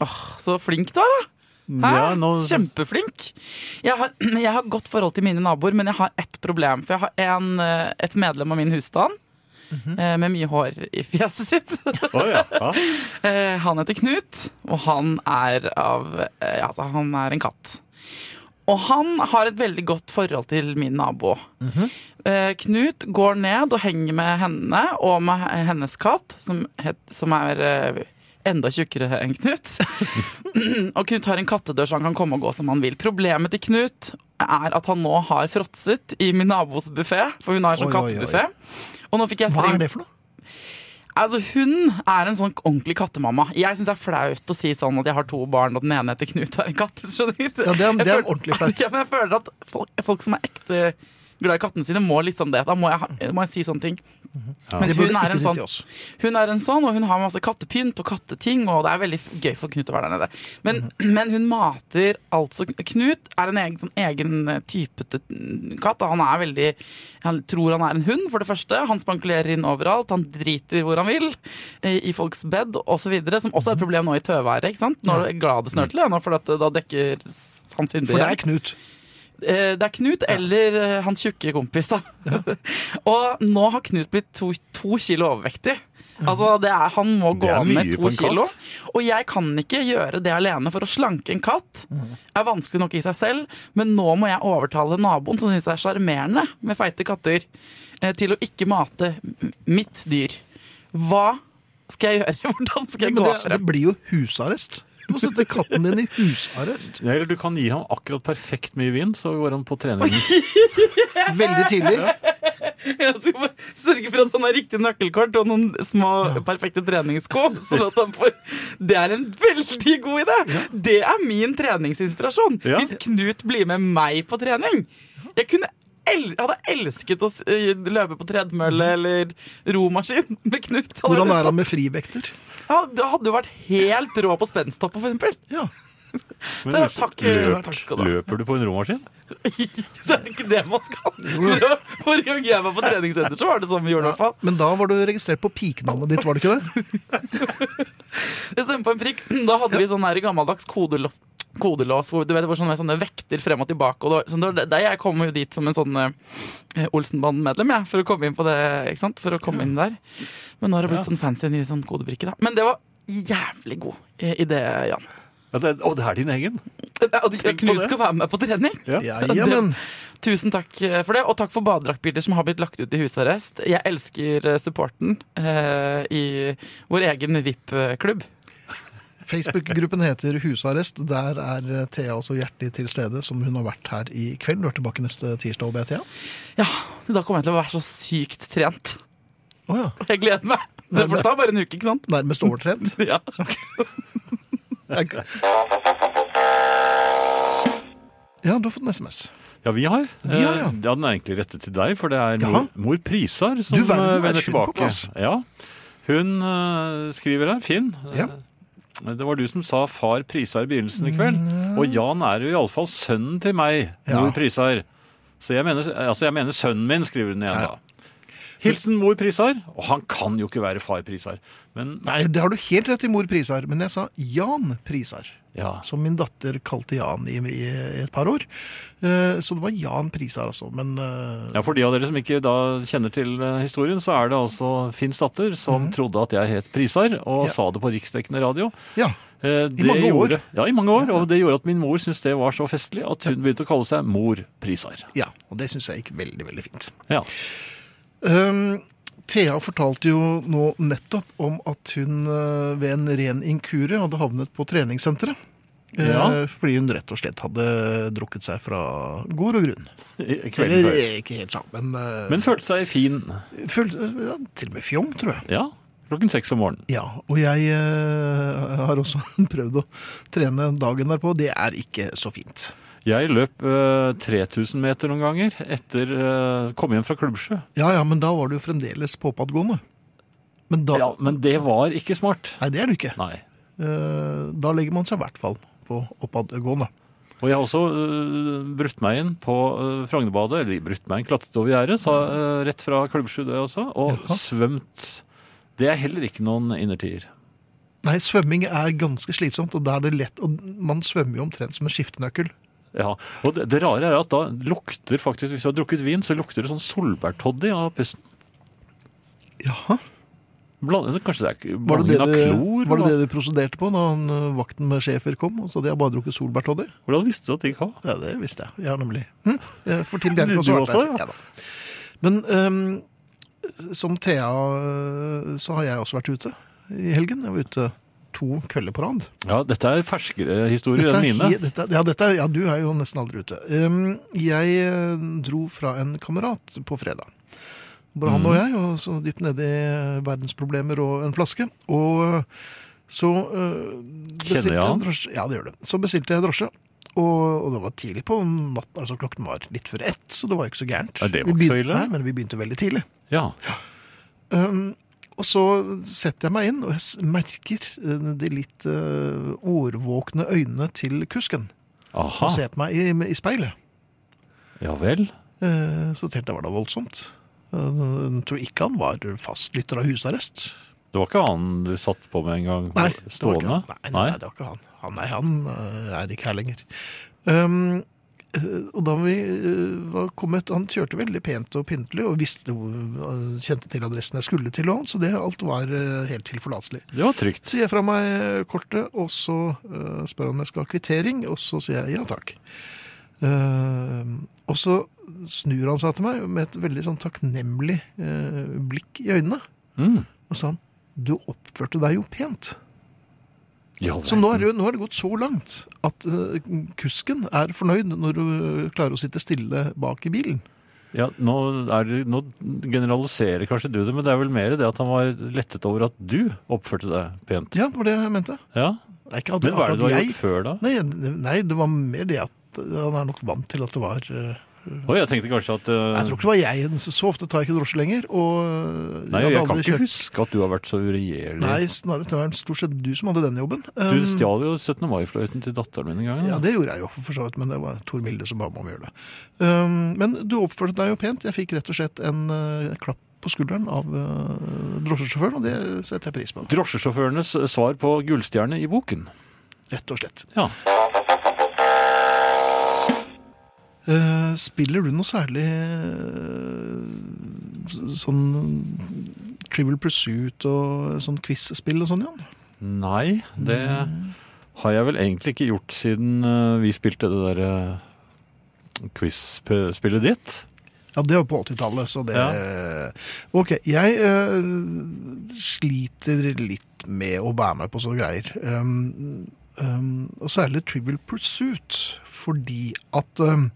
D: Åh, Så flink du er, da! Hæ?
C: Ja, nå-
D: Kjempeflink. Jeg har, jeg har godt forhold til mine naboer, men jeg har ett problem. For jeg har en, eh, et medlem av min husstand
C: Mhm.
D: eh, med mye hår i fjeset sitt.
C: Å, ja. Ja.
D: Eh, Han heter Knut, og han er av eh, Altså, han er en katt. Og han har et veldig godt forhold til min nabo.
B: Mhm.
D: Eh, Knut går ned og henger med henne og med hennes katt, som, het, som er eh, enda tjukkere enn Knut. og Knut har en kattedør, så han kan komme og gå som han vil. Problemet til Knut er at han nå har fråtset i min nabos buffé, for hun har en
B: Oi,
D: sånn
B: oi, oi.
D: kattebuffé. Og nå fikk jeg
B: Hva
D: streng
B: er det for noe?
D: Altså, Hun er en sånn ordentlig kattemamma. Jeg syns det er flaut å si sånn at jeg har to barn, og den ene heter Knut og er en katt. Skjønner du?
B: Ja, det er- det er
D: Jeg føler-
B: ordentlig flaut.
D: Ja, men jeg føler at folk, folk som er ekte glad i kattene sine, må litt sånn det. Da må jeg, ha- må jeg si sånne ting. Mens
B: Det burde
D: hun er
B: ikke
D: en
B: si til
D: sånn
B: oss.
D: hun er en sånn, og hun har masse kattepynt og katteting, og det er veldig gøy for Knut å være der nede. Men,
B: Mhm.
D: men hun mater altså Knut er en egen, sånn, egen typete katt. da. Han er veldig Han tror han er en hund, for det første. Han spankulerer inn overalt. Han driter hvor han vil, eh, i folks bed osv., som
B: Mhm.
D: også er et problem nå i tøværet. ikke sant? Når det er glad det snør til, ja, nå, for at eh, da dekker s- hans synder
B: For det
D: igjen.
B: er Knut.
D: Eh, Det er Knut eller eh, hans tjukke kompis, da. og nå har Knut blitt to, to kilo overvektig. Altså, det er, Han må
C: Mhm.
D: gå
C: Det er
D: ned
C: mye
D: to
C: på en
D: kilo.
C: katt.
D: Og jeg kan ikke gjøre det alene, for å slanke en katt
C: Mhm.
D: er vanskelig nok i seg selv. Men nå må jeg overtale naboen, som syns det er sjarmerende med feite katter, eh, til å ikke mate m- mitt dyr. Hva skal jeg gjøre? Hvordan skal jeg
B: Men
D: gå
B: det, det
D: frem?
B: blir jo husarrest. Du må sette katten din i husarrest.
C: Ja, Eller du kan gi ham akkurat perfekt mye vin, så går han på trening.
B: Veldig tidlig.
D: Jeg skal bare sørge Altså, for at han har riktig nøkkelkort og noen små, perfekte treningssko. Sånn at han får Det er en veldig god idé! Det er min treningsinspirasjon.
C: Ja.
D: Hvis Knut blir med meg på trening Jeg kunne el hadde elsket å s- eh, løpe på tredemølle eller romaskin med Knut. Han
B: Mhm. Hvordan
D: hadde-
B: er han med frivekter?
D: Ja, det hadde jo vært helt rå på spensthopp, for eksempel.
B: Ja.
C: Men
D: Det er-
C: unnskyld,
D: takk,
C: løp,
D: takk skal du ha.
C: løper du på en romaskin?
D: Så er det ikke det man skal. Forrige gang jeg var på treningssenter, så var det sånn vi gjorde, i hvert fall.
B: Men da var du registrert på pikenavnet ditt, var det ikke det?
D: Det stemmer på en prikk. Da hadde vi sånn her gammeldags kodelå- kodelås hvor du vet, det var sånn sånne, sånne vekter frem og tilbake. Og det var, sånn, det var det- der jeg kom jo dit som en sånn eh, Olsenbanden-medlem, jeg, for å komme inn på det. ikke sant? For å komme inn der. Men nå har det blitt sånn fancy nye sånn kodebrikke, da. Men det var jævlig god eh, idé, Jan.
C: Ja, det, å, det er din egen!
D: Og
C: Tenk på
D: Knut
C: det.
D: skal være med på trening.
B: Ja, ja, men
D: Tusen takk eh, for det, og takk for badedraktbilder som har blitt lagt ut i husarrest. Jeg elsker eh, supporten eh, i vår egen VIP-klubb.
B: Facebook-gruppen heter Husarrest. Der er eh, Thea også hjertelig til stede, som hun har vært her i kveld. Du er tilbake neste tirsdag, håper jeg, Thea?
D: Ja, Da kommer jeg til å være så sykt trent.
B: Å ja.
D: Jeg gleder meg. Det for det tar bare en uke, ikke sant?
B: Nærmest overtrent.
D: Ja.
B: Ja, du har fått en SMS.
C: Ja, vi har.
B: Vi har, ja.
C: Eh, ja, den er egentlig rettet til deg, for det er
B: Jaha.
C: mor, mor Prisar som
B: Du verden,
C: eh,
B: nå er
C: vender
B: Finn på
C: tilbake.
B: plass.
C: Ja, Hun eh, skriver her, Finn. eh,
B: Ja.
C: Det var du som sa far Prisar i begynnelsen i kveld. Og Jan er jo iallfall sønnen til meg,
B: Mm. Ja.
C: mor Prisar. Så jeg mener, altså jeg mener sønnen min, skriver hun igjen
B: Ja.
C: da. Hilsen mor Prisar. Og han kan jo ikke være far Prisar. Men
B: Nei, det har du helt rett i, mor Prisar, men jeg sa Jan Prisar.
C: ja.
B: Som min datter kalte Jan i, i et par år. Eh, Så det var Jan Prisar, altså. Men eh,
C: Ja, For de av dere som ikke da kjenner til eh, historien, så er det altså Finns datter som trodde at jeg het Prisar, og
B: Mm. Ja.
C: sa det på riksdekkende radio.
B: ja.
C: Eh, det
B: mange år.
C: gjorde, Ja, i mange år. Og det gjorde at min mor syntes det var så festlig at hun begynte å kalle seg Mor Prisar.
B: ja. Og det syns jeg gikk veldig, veldig fint.
C: Ja.
B: Um, Thea fortalte jo nå nettopp om at hun eh, ved en ren inkurie hadde havnet på treningssenteret. Eh,
C: Ja.
B: Fordi hun rett og slett hadde drukket seg fra gård og grunn.
C: i- Kvelden
B: Eller
C: før.
B: eh, ikke helt sammen, men,
C: Men følte seg fin.
B: eh, føl- eh, ja, til og med fjong, tror jeg.
C: Ja. Klokken seks om morgenen.
B: Ja, og jeg eh, har også prøvd å trene dagen derpå. Det er ikke så fint.
C: Jeg løp eh, 3000 meter noen ganger etter eh, Kom hjem fra Klubbsjø.
B: Ja, ja, men da var du jo fremdeles påpadgående. Men da
C: Ja, men det var ikke smart.
B: Nei, det er du ikke.
C: Nei.
B: Eh, da legger man seg i hvert fall på oppadgående.
C: Og jeg har også øh, brutt meg inn på øh, Frognerbadet, eller brutt meg inn, klatret over gjerdet, sa, øh, rett fra Klubbsjø det også, og
B: Jaha.
C: svømt. Det er heller ikke noen innertier.
B: Nei, svømming er ganske slitsomt, og da er det lett og Man svømmer jo omtrent som en skiftenøkkel.
C: Ja, og det, det rare er at da lukter faktisk, hvis du har drukket vin, så lukter det sånn solbærtoddy av pusten.
B: Jaha.
C: Bland, kanskje det er ikke-
B: Var det det,
C: blandingen av
B: du,
C: klor?
B: var det
C: eller hva?
B: det du prosederte på da han, eh, vakten med schæfer kom og sa de har bare drukket solbærtoddy?
C: Hvordan visste du at det ikke var?
B: Ja, det visste jeg. Jeg har nemlig hm? Eh, For Tim Bjerke
C: Du-
B: også.
C: du
B: vært der.
C: også, ja.
B: da. Men ehm, som Thea eh, så har jeg også vært ute i helgen. Jeg var ute to kvelder på rad.
C: Ja, dette er ferskere historier
B: Dette
C: enn
B: er
C: mine.
B: he- Dette, er- ja, dette, er- ja, du er jo nesten aldri ute. Um, jeg eh, dro fra en kamerat på fredag. Bare han
C: Mm.
B: og jeg, og så dypt nede i verdensproblemer og en flaske. Og så eh, bestilte
C: jeg
B: en
C: han?
B: drosje. Ja, det gjør det. Så bestilte jeg drosje. Og, og det var tidlig på natten, altså klokken var litt før ett, så det var ikke så gærent.
C: Ja, det var
B: Vi
C: ikke så
B: begyn-
C: ille.
B: Nei, men vi begynte veldig tidlig.
C: Ja,
B: Um, og så setter jeg meg inn, og jeg s- merker eh, de litt eh, årvåkne øynene til kusken.
C: aha,
B: Som ser på meg i, i speilet.
C: ja vel.
B: Eh, så tenkte jeg var det voldsomt. Eh, Jeg tror ikke han var fastlytter av husarrest.
C: Det var ikke han du satt på med en gang,
B: det var ikke
C: stående?
B: han. Nei, nei, det var ikke han. Han, nei, han eh, er ikke her lenger. Um, eh, og da vi eh, var kommet Han kjørte veldig pent og pyntelig og visste hvor, eh, kjente til adressen jeg skulle til, og alt, så det alt var eh, helt tilforlatelig.
C: det var trygt.
B: Så gir jeg fra meg eh, kortet, og så eh, spør han om jeg skal ha kvittering, og så sier jeg ja takk. Eh, og så snur han seg til meg med et veldig sånn takknemlig eh, blikk i øynene,
C: Mm.
B: og sa han du oppførte deg jo pent.
C: Ja,
B: Så nå er det, jo- nå er det gått så langt at eh, kusken er fornøyd når du klarer å sitte stille bak i bilen.
C: Ja, nå, er det, nå generaliserer kanskje du det, men det er vel mer det at han var lettet over at du oppførte deg pent.
B: Ja, det var det jeg mente.
C: Ja,
B: Det er ikke at-
C: Men hva er det du
B: at
C: har
B: jeg-
C: gjort før da?
B: Nei, nei, det var mer det at eh, han er nok vant til at det var eh,
C: Å, jeg tenkte kanskje at eh,
B: Jeg tror ikke det var jeg. Så, så ofte tar jeg ikke drosje lenger. Og øh,
C: Nei,
B: hadde
C: jeg kan
B: aldri
C: ikke
B: kjørt-
C: huske at du har vært så uregjerlig.
B: Nei, snarere det var stort sett du som hadde den jobben.
C: Du
B: Um,
C: stjal jo 17. mai-fløyten til datteren min en gang.
B: Ja,
C: da.
B: det gjorde jeg jo, for så vidt, men det var Tor Milde som ba meg om å gjøre det. Um, men du oppførte deg jo pent. Jeg fikk rett og slett en øh, klapp på skulderen av øh, drosjesjåføren, og det setter jeg pris på.
C: Drosjesjåførenes svar på gullstjerne i boken.
B: Rett og slett.
C: Ja.
B: Eh, spiller du noe særlig eh, s- sånn Trivial Pursuit og sånn quiz-spill og sånn, Jan?
C: Nei, det har jeg vel egentlig ikke gjort siden eh, vi spilte det derre eh, quiz-spillet ditt.
B: Ja, det var på 80-tallet, så det Ok, jeg eh, sliter litt med å være med på sånne greier. Um, um, og særlig Trivial Pursuit, fordi at um,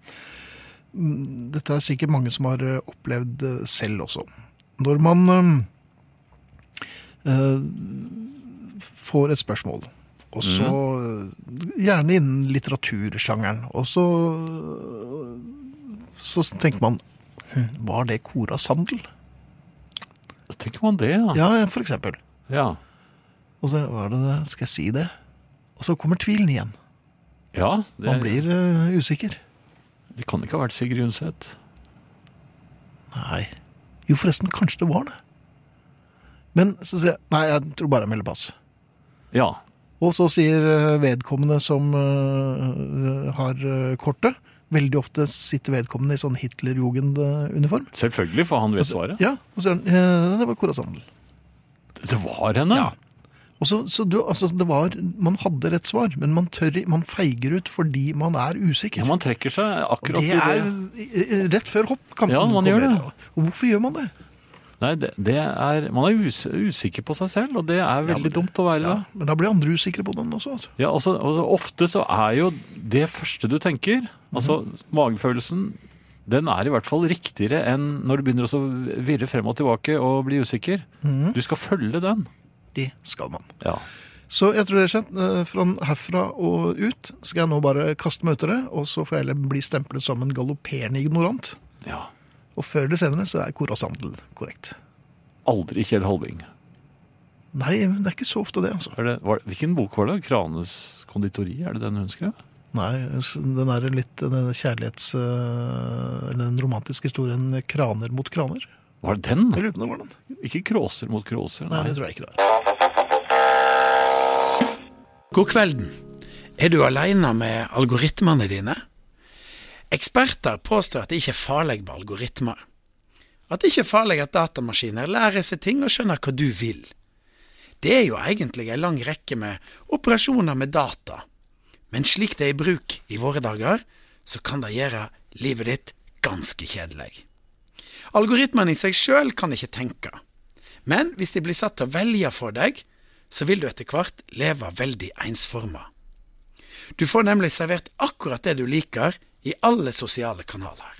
B: mm, Dette er sikkert mange som har eh, opplevd eh, selv også. Når man um, eh, får et spørsmål, og så eh, gjerne innen litteratursjangeren, og så, eh, så tenker man «Hm, Var det Cora Sandel?
C: Da tenker man det, ja.
B: Ja, for eksempel.
C: Ja,
B: Og så hva er det, det? skal jeg si det? Og så kommer tvilen igjen.
C: ja det,
B: Man blir eh, usikker.
C: det kan ikke ha vært Sigrid Undset.
B: Nei. Jo, forresten, kanskje det var det. Men så sier jeg nei, jeg tror bare jeg melder pass.
C: Ja.
B: Og så sier eh, vedkommende som eh, har eh, kortet Veldig ofte sitter vedkommende i sånn Hitlerjugend-uniform.
C: Selvfølgelig, for han
B: Altså,
C: vet svaret.
B: Ja, og så sier han eh, det var Cora Sandel.
C: Det var henne!
B: Ja. Og så, så du, altså, det var, Man hadde rett svar, men man, tør, man feiger ut fordi man er usikker.
C: Ja, man trekker seg akkurat
B: Det
C: i det.
B: er eh, rett før hopp. Kan
C: Ja, man gjør det.
B: Og hvorfor gjør man det?
C: Nei, det, det er, man er us usikker på seg selv, og det er veldig dumt å være
B: Ja.
C: det.
B: Men da blir andre usikre på den også. altså.
C: Ja, altså, altså, ofte så er jo det første du tenker, altså magefølelsen, den er i hvert fall riktigere enn når du begynner å så virre frem og tilbake og bli usikker. Du skal følge den.
B: Mhm, Det skal man.
C: Ja.
B: Så jeg tror det er kjent. eh, Fra herfra og ut skal jeg nå bare kaste meg ut i det, og så får jeg heller bli stemplet som en galopperende ignorant.
C: ja.
B: Og før eller senere så er Cora Sandel korrekt.
C: Aldri Kjell Halving.
B: Nei, men det er ikke så ofte det, altså.
C: Er det, var, det- hvilken bok var det? Kranes konditori? Er det den hun skrev?
B: Nei, den er litt den kjærlighets... eh, eller Den romantiske historien 'Kraner mot kraner'.
C: Var det den?
B: Jeg lurer på om det var den.
C: Ikke Kråser mot Kråser?
B: Nei,
C: Nei.
B: det tror jeg ikke det er.
F: God kvelden. Er du aleine med algoritmene dine? Eksperter påstår at det ikke er farlig med algoritmer. At det ikke er farlig at datamaskiner lærer seg ting og skjønner hva du vil. Det er jo egentlig ei lang rekke med operasjoner med data, men slik det er i bruk i våre dager, så kan det gjøre livet ditt ganske kjedelig. Algoritmene i seg sjøl kan ikke tenke. Men hvis de blir satt til å velge for deg, så vil du etter hvert leve veldig ensforma. Du får nemlig servert akkurat det du liker i alle sosiale kanaler.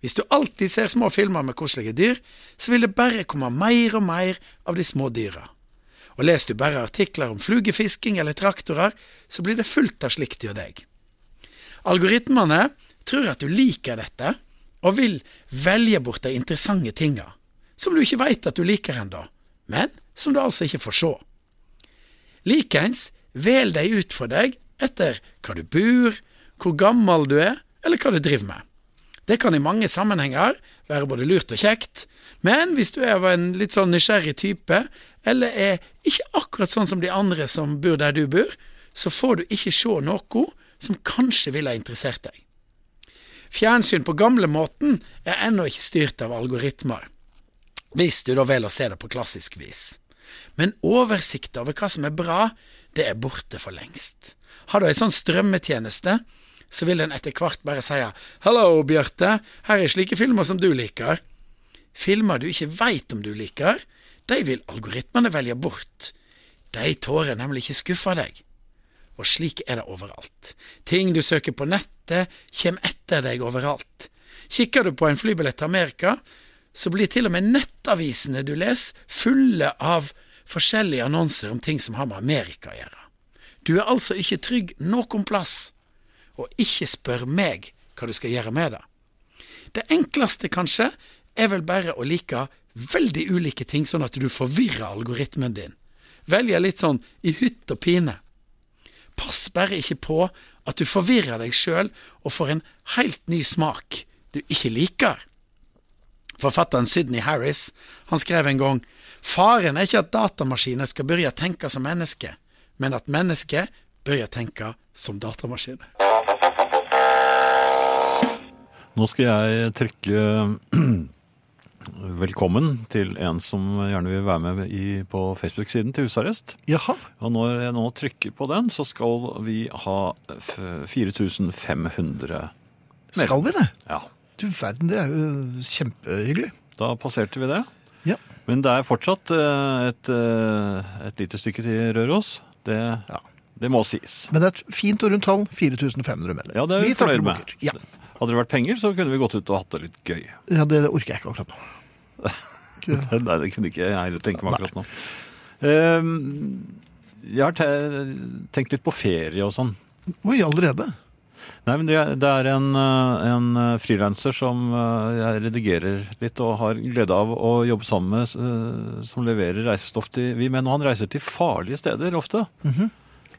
F: Hvis du alltid ser små filmer med koselige dyr, så vil det bare komme mer og mer av de små dyra. Og leser du bare artikler om flugefisking eller traktorer, så blir det fullt av slikt hjå deg. Algoritmene tror at du liker dette, og vil velge bort de interessante tinga, som du ikke veit at du liker ennå, men som du altså ikke får se. Likeens vel de ut for deg etter hva du bor, hvor gammel du er, eller hva du driver med. Det kan i mange sammenhenger være både lurt og kjekt, men hvis du er av en litt sånn nysgjerrig type, eller er ikke akkurat sånn som de andre som bor der du bor, så får du ikke se noe som kanskje ville ha interessert deg. Fjernsyn på gamlemåten er ennå ikke styrt av algoritmer, hvis du da velger å se det på klassisk vis. Men oversikt over hva som er bra, det er borte for lengst. Har du ei sånn strømmetjeneste, så vil den etter hvert bare si 'Hallo, Bjarte, her er slike filmer som du liker'. Filmer du ikke veit om du liker, de vil algoritmene velge bort. De tårer nemlig ikke skuffe deg. Og slik er det overalt. Ting du søker på nettet, kommer etter deg overalt. Kikker du på en flybillett til Amerika, så blir til og med nettavisene du leser, fulle av forskjellige annonser om ting som har med Amerika å gjøre. Du er altså ikke trygg noen plass, og ikke spør meg hva du skal gjøre med det. Det enkleste, kanskje, er vel bare å like veldig ulike ting, sånn at du forvirrer algoritmen din. Velge litt sånn i hytt og pine. Pass bare ikke på at du forvirrer deg sjøl og får en helt ny smak du ikke liker. Forfatteren Sydney Harris han skrev en gang Faren er ikke at datamaskiner skal begynne å tenke som mennesker, men at mennesker begynner å tenke som datamaskiner.
C: Nå skal jeg trykke velkommen til en som gjerne vil være med i, på Facebook-siden til husarrest.
B: Jaha.
C: Og når jeg nå trykker på den, så skal vi ha f- 4500
B: Skal vi det?
C: Ja.
B: Du verden, det er jo kjempehyggelig.
C: Da passerte vi det.
B: Ja.
C: Men det er fortsatt eh, et, eh, et lite stykke til Røros. Det, det må sies.
B: Men det er et fint og rundt tall. 4500 medlemmer.
C: Ja, det er vi
B: takker
C: fornøyd med.
B: boker. Ja.
C: Hadde det vært penger, så kunne vi gått ut og hatt det litt gøy.
B: ja, det orker jeg ikke akkurat nå.
C: Nei, det kunne ikke jeg heller tenke meg akkurat nå. Eh, jeg har te tenkt litt på ferie og sånn.
B: Oi, allerede?
C: Nei, men det, det er en, eh, en eh, frilanser som eh, jeg redigerer litt og har glede av å jobbe sammen med, eh, som leverer reisestoff til vi menn. Og han reiser til farlige steder ofte. Eh.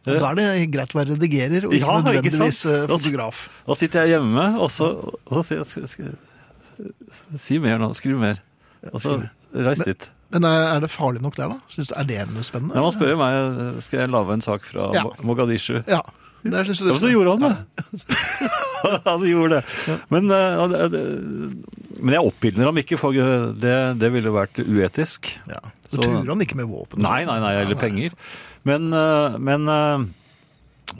B: Da er det greit å være redigerer og ikke
C: Ja, ikke
B: nødvendigvis
C: sant?
B: eh, fotograf.
C: Da sitter jeg hjemme, og så, og så sier jeg sk- sk- Si mer nå. Skriv mer. Og så reis dit.
B: Men er er det farlig nok der, da? Synes du, er det noe spennende?
C: Nei, man spør jo meg eh, skal jeg lage en sak fra
B: Ja.
C: Mo- Mogadishu.
B: Ja, det synes
C: Ja,
B: jeg
C: men så gjorde han det! han gjorde det. Men, eh, han- eh, men jeg oppildner ham ikke, for eh, det, det ville vært uetisk.
B: Ja. Så
C: Så-
B: truer han ikke med våpen?
C: Nei, nei, nei, eller
B: nei.
C: penger. Men, eh, men eh,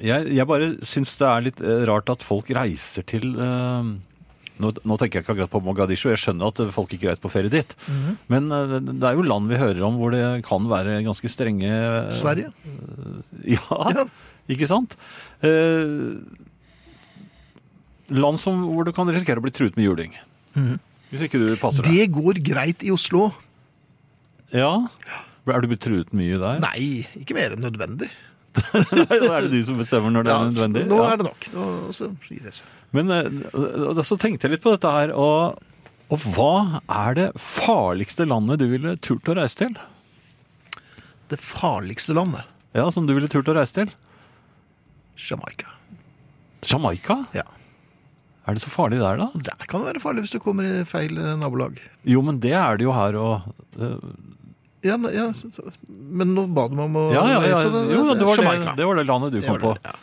C: jeg, jeg bare syns det er litt eh, rart at folk reiser til eh, nå, nå tenker jeg ikke akkurat på Mogadishu, jeg skjønner at eh, folk ikke reiser på ferie dit. Men eh, det er jo land vi hører om hvor det kan være ganske strenge eh,
B: Sverige?
C: Ja,
B: Ja.
C: ikke sant? Eh, land som, hvor du kan risikere å bli truet med juling.
B: Mhm.
C: Hvis ikke du passer deg.
B: Det går greit i Oslo.
C: Ja. Er du blitt truet mye der?
B: Nei, ikke mer enn nødvendig.
C: Da er det du som bestemmer når det er
B: så
C: nødvendig.
B: Nå
C: Ja.
B: er det nok. Nå, så gir det seg.
C: Men eh, da- så tenkte jeg litt på dette her, og, og hva er det farligste landet du ville turt å reise til?
B: Det farligste landet.
C: Ja, som du ville turt å reise til?
B: Jamaica.
C: Jamaica?
B: Ja.
C: Er det så farlig der, da?
B: Der kan det være farlig hvis du kommer i feil eh, nabolag.
C: Jo, men det er det jo her og eh,
B: Ja, ne- ja, så- så- men nå ba du meg om å
C: Ja, ja, ja.
B: så det-
C: Jo, det var det,
B: Jamaica.
C: det var det landet du
B: Det
C: kom
B: var
C: på.
B: det, ja.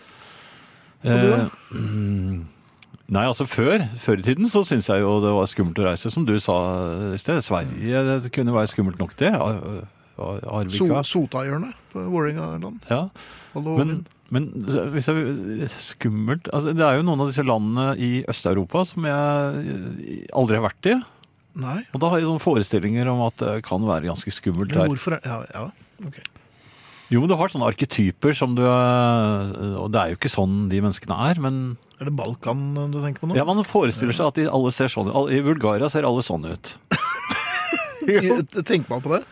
C: Eh, mm, Nei, altså før, før i tiden så syntes jeg jo det var skummelt å reise, som du sa eh, i sted. Sverige det kunne være skummelt nok, det. Ar- Ar- Arvika.
B: So- Sotahjørnet på Vålerengaland.
C: Ja.
B: Hallo,
C: Men, men hvis jeg, skummelt altså, Det er jo noen av disse landene i Øst-Europa som jeg eh, aldri har vært i.
B: Nei.
C: Og da har jeg sånne forestillinger om at det kan være ganske skummelt
B: Men
C: der.
B: hvorfor er Ja, ja. ok.
C: Jo, men du har sånne arketyper som du eh, Og det er jo ikke sånn de menneskene er, men
B: Er det Balkan eh, du tenker på nå?
C: ja, man forestiller seg at de alle ser sånn ut. Alle- I Bulgaria ser alle sånn ut.
B: Jeg- Tenker man på det?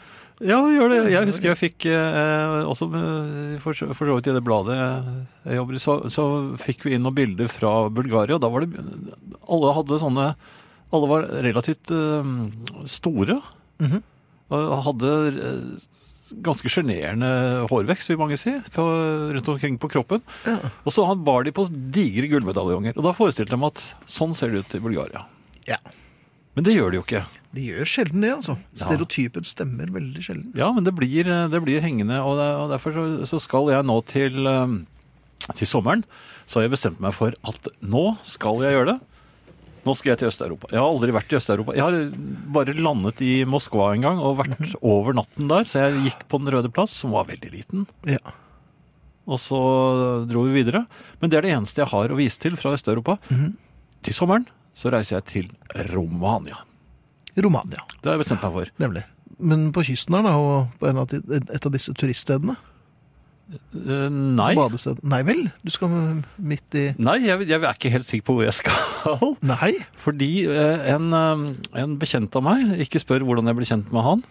C: Ja, gjør det. Jeg husker jeg fikk eh, også eh, for så for så vidt i det bladet jeg jobber i, så, så fikk vi inn noen bilder fra Bulgaria. og Da var det Alle hadde sånne Alle var relativt eh, store. Mhm. Og hadde eh, ganske sjenerende hårvekst, vil mange si, på, rundt omkring på kroppen. Og så han bar de på digre gullmedaljonger. Og da forestilte de meg at sånn ser det ut i Bulgaria.
B: Ja.
C: Men det gjør det jo ikke.
B: De gjør sjelden det, altså.
C: Ja.
B: Stereotyper stemmer veldig sjelden.
C: Ja, men det blir, eh, det blir hengende, og, det, og derfor så, så skal jeg nå til, eh, til sommeren. Så har jeg bestemt meg for at nå skal jeg gjøre det. Nå skal jeg til Øst-Europa. Jeg har aldri vært i Øst-Europa. Jeg har eh, bare landet i Moskva en gang og vært over natten der, så jeg gikk på Den røde plass, som var veldig liten.
B: Ja.
C: Og så dro vi videre. Men det er det eneste jeg har å vise til fra Øst-Europa. Til sommeren så reiser jeg til Romania.
B: Romania,
C: Det har jeg bestemt meg for. Eh,
B: nemlig. Men på kysten her, da, og på en av de, et av disse turiststedene?
C: Eh, nei.
B: Så badested- Nei vel? Du skal midt i
C: Nei, jeg, jeg er ikke helt sikker på hvor jeg skal.
B: Nei?
C: Fordi eh, en, eh, en bekjent av meg Ikke spør hvordan jeg ble kjent med han.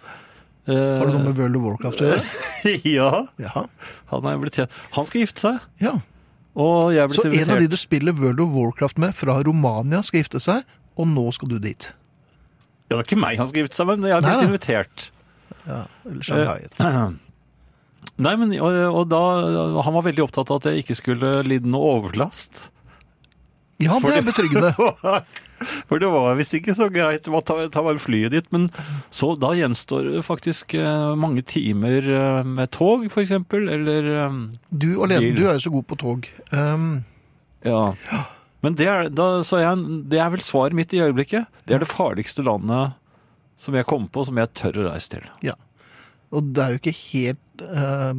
C: Eh,
B: Har du noe med World of Warcraft å gjøre?
C: Ja,
B: Jaha.
C: han, er blitt, kjent- han skal gifte seg,
B: Ja.
C: og jeg er blitt
B: Så en av de
C: invitert.
B: du spiller World of Warcraft med fra Romania, skal gifte seg, og nå skal du dit?
C: Ja, det er ikke meg han skal gifte seg med, men jeg er blitt
B: Nei, nei.
C: invitert.
B: Ja,
C: Eh,
B: eller Shanghai. et-
C: Nei, men og, og da, Han var veldig opptatt av at jeg ikke skulle lide noe overlast.
B: Ja, det er betryggende.
C: For det var visst ikke så greit å ta, ta bare flyet ditt, men så da gjenstår det faktisk eh, mange timer eh, med tog, for eksempel, eller eh,
B: Du alene, du er jo så god på tog. Um,
C: Ja. Men det er, da, sa jeg, det er vel svaret mitt i øyeblikket. Det er det farligste landet som jeg kom på, som jeg tør å reise til.
B: Ja. um, Og det er jo ikke helt eh,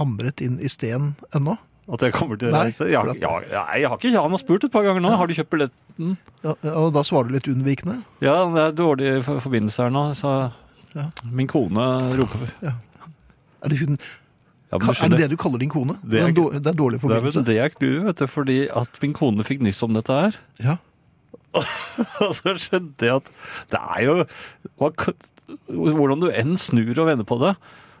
B: hamret inn i sten ennå.
C: At jeg kommer til å
B: Nei,
C: reise? Jeg, har-
B: for at-
C: jeg, har- nei, jeg har ikke Han har spurt et par ganger nå. Har du kjøpt billetten?
B: Ja, og da svarer du litt unnvikende.
C: Ja, det er dårlig for- forbindelse her nå, så
B: Ja.
C: Min kone roper
B: Er det, hun,
C: ja, men du
B: ka- er det
C: skjønner,
B: det du kaller din kone?
C: Det
B: Det
C: er
B: er,
C: ikke-
B: dår- det er dårlig
C: Det er
B: forbindelse.
C: vel det jeg gluer, vet du, fordi at min kone fikk nyss om dette her.
B: Ja.
C: Og så skjønte jeg at det er jo hva, Hvordan du enn snur og vender på det,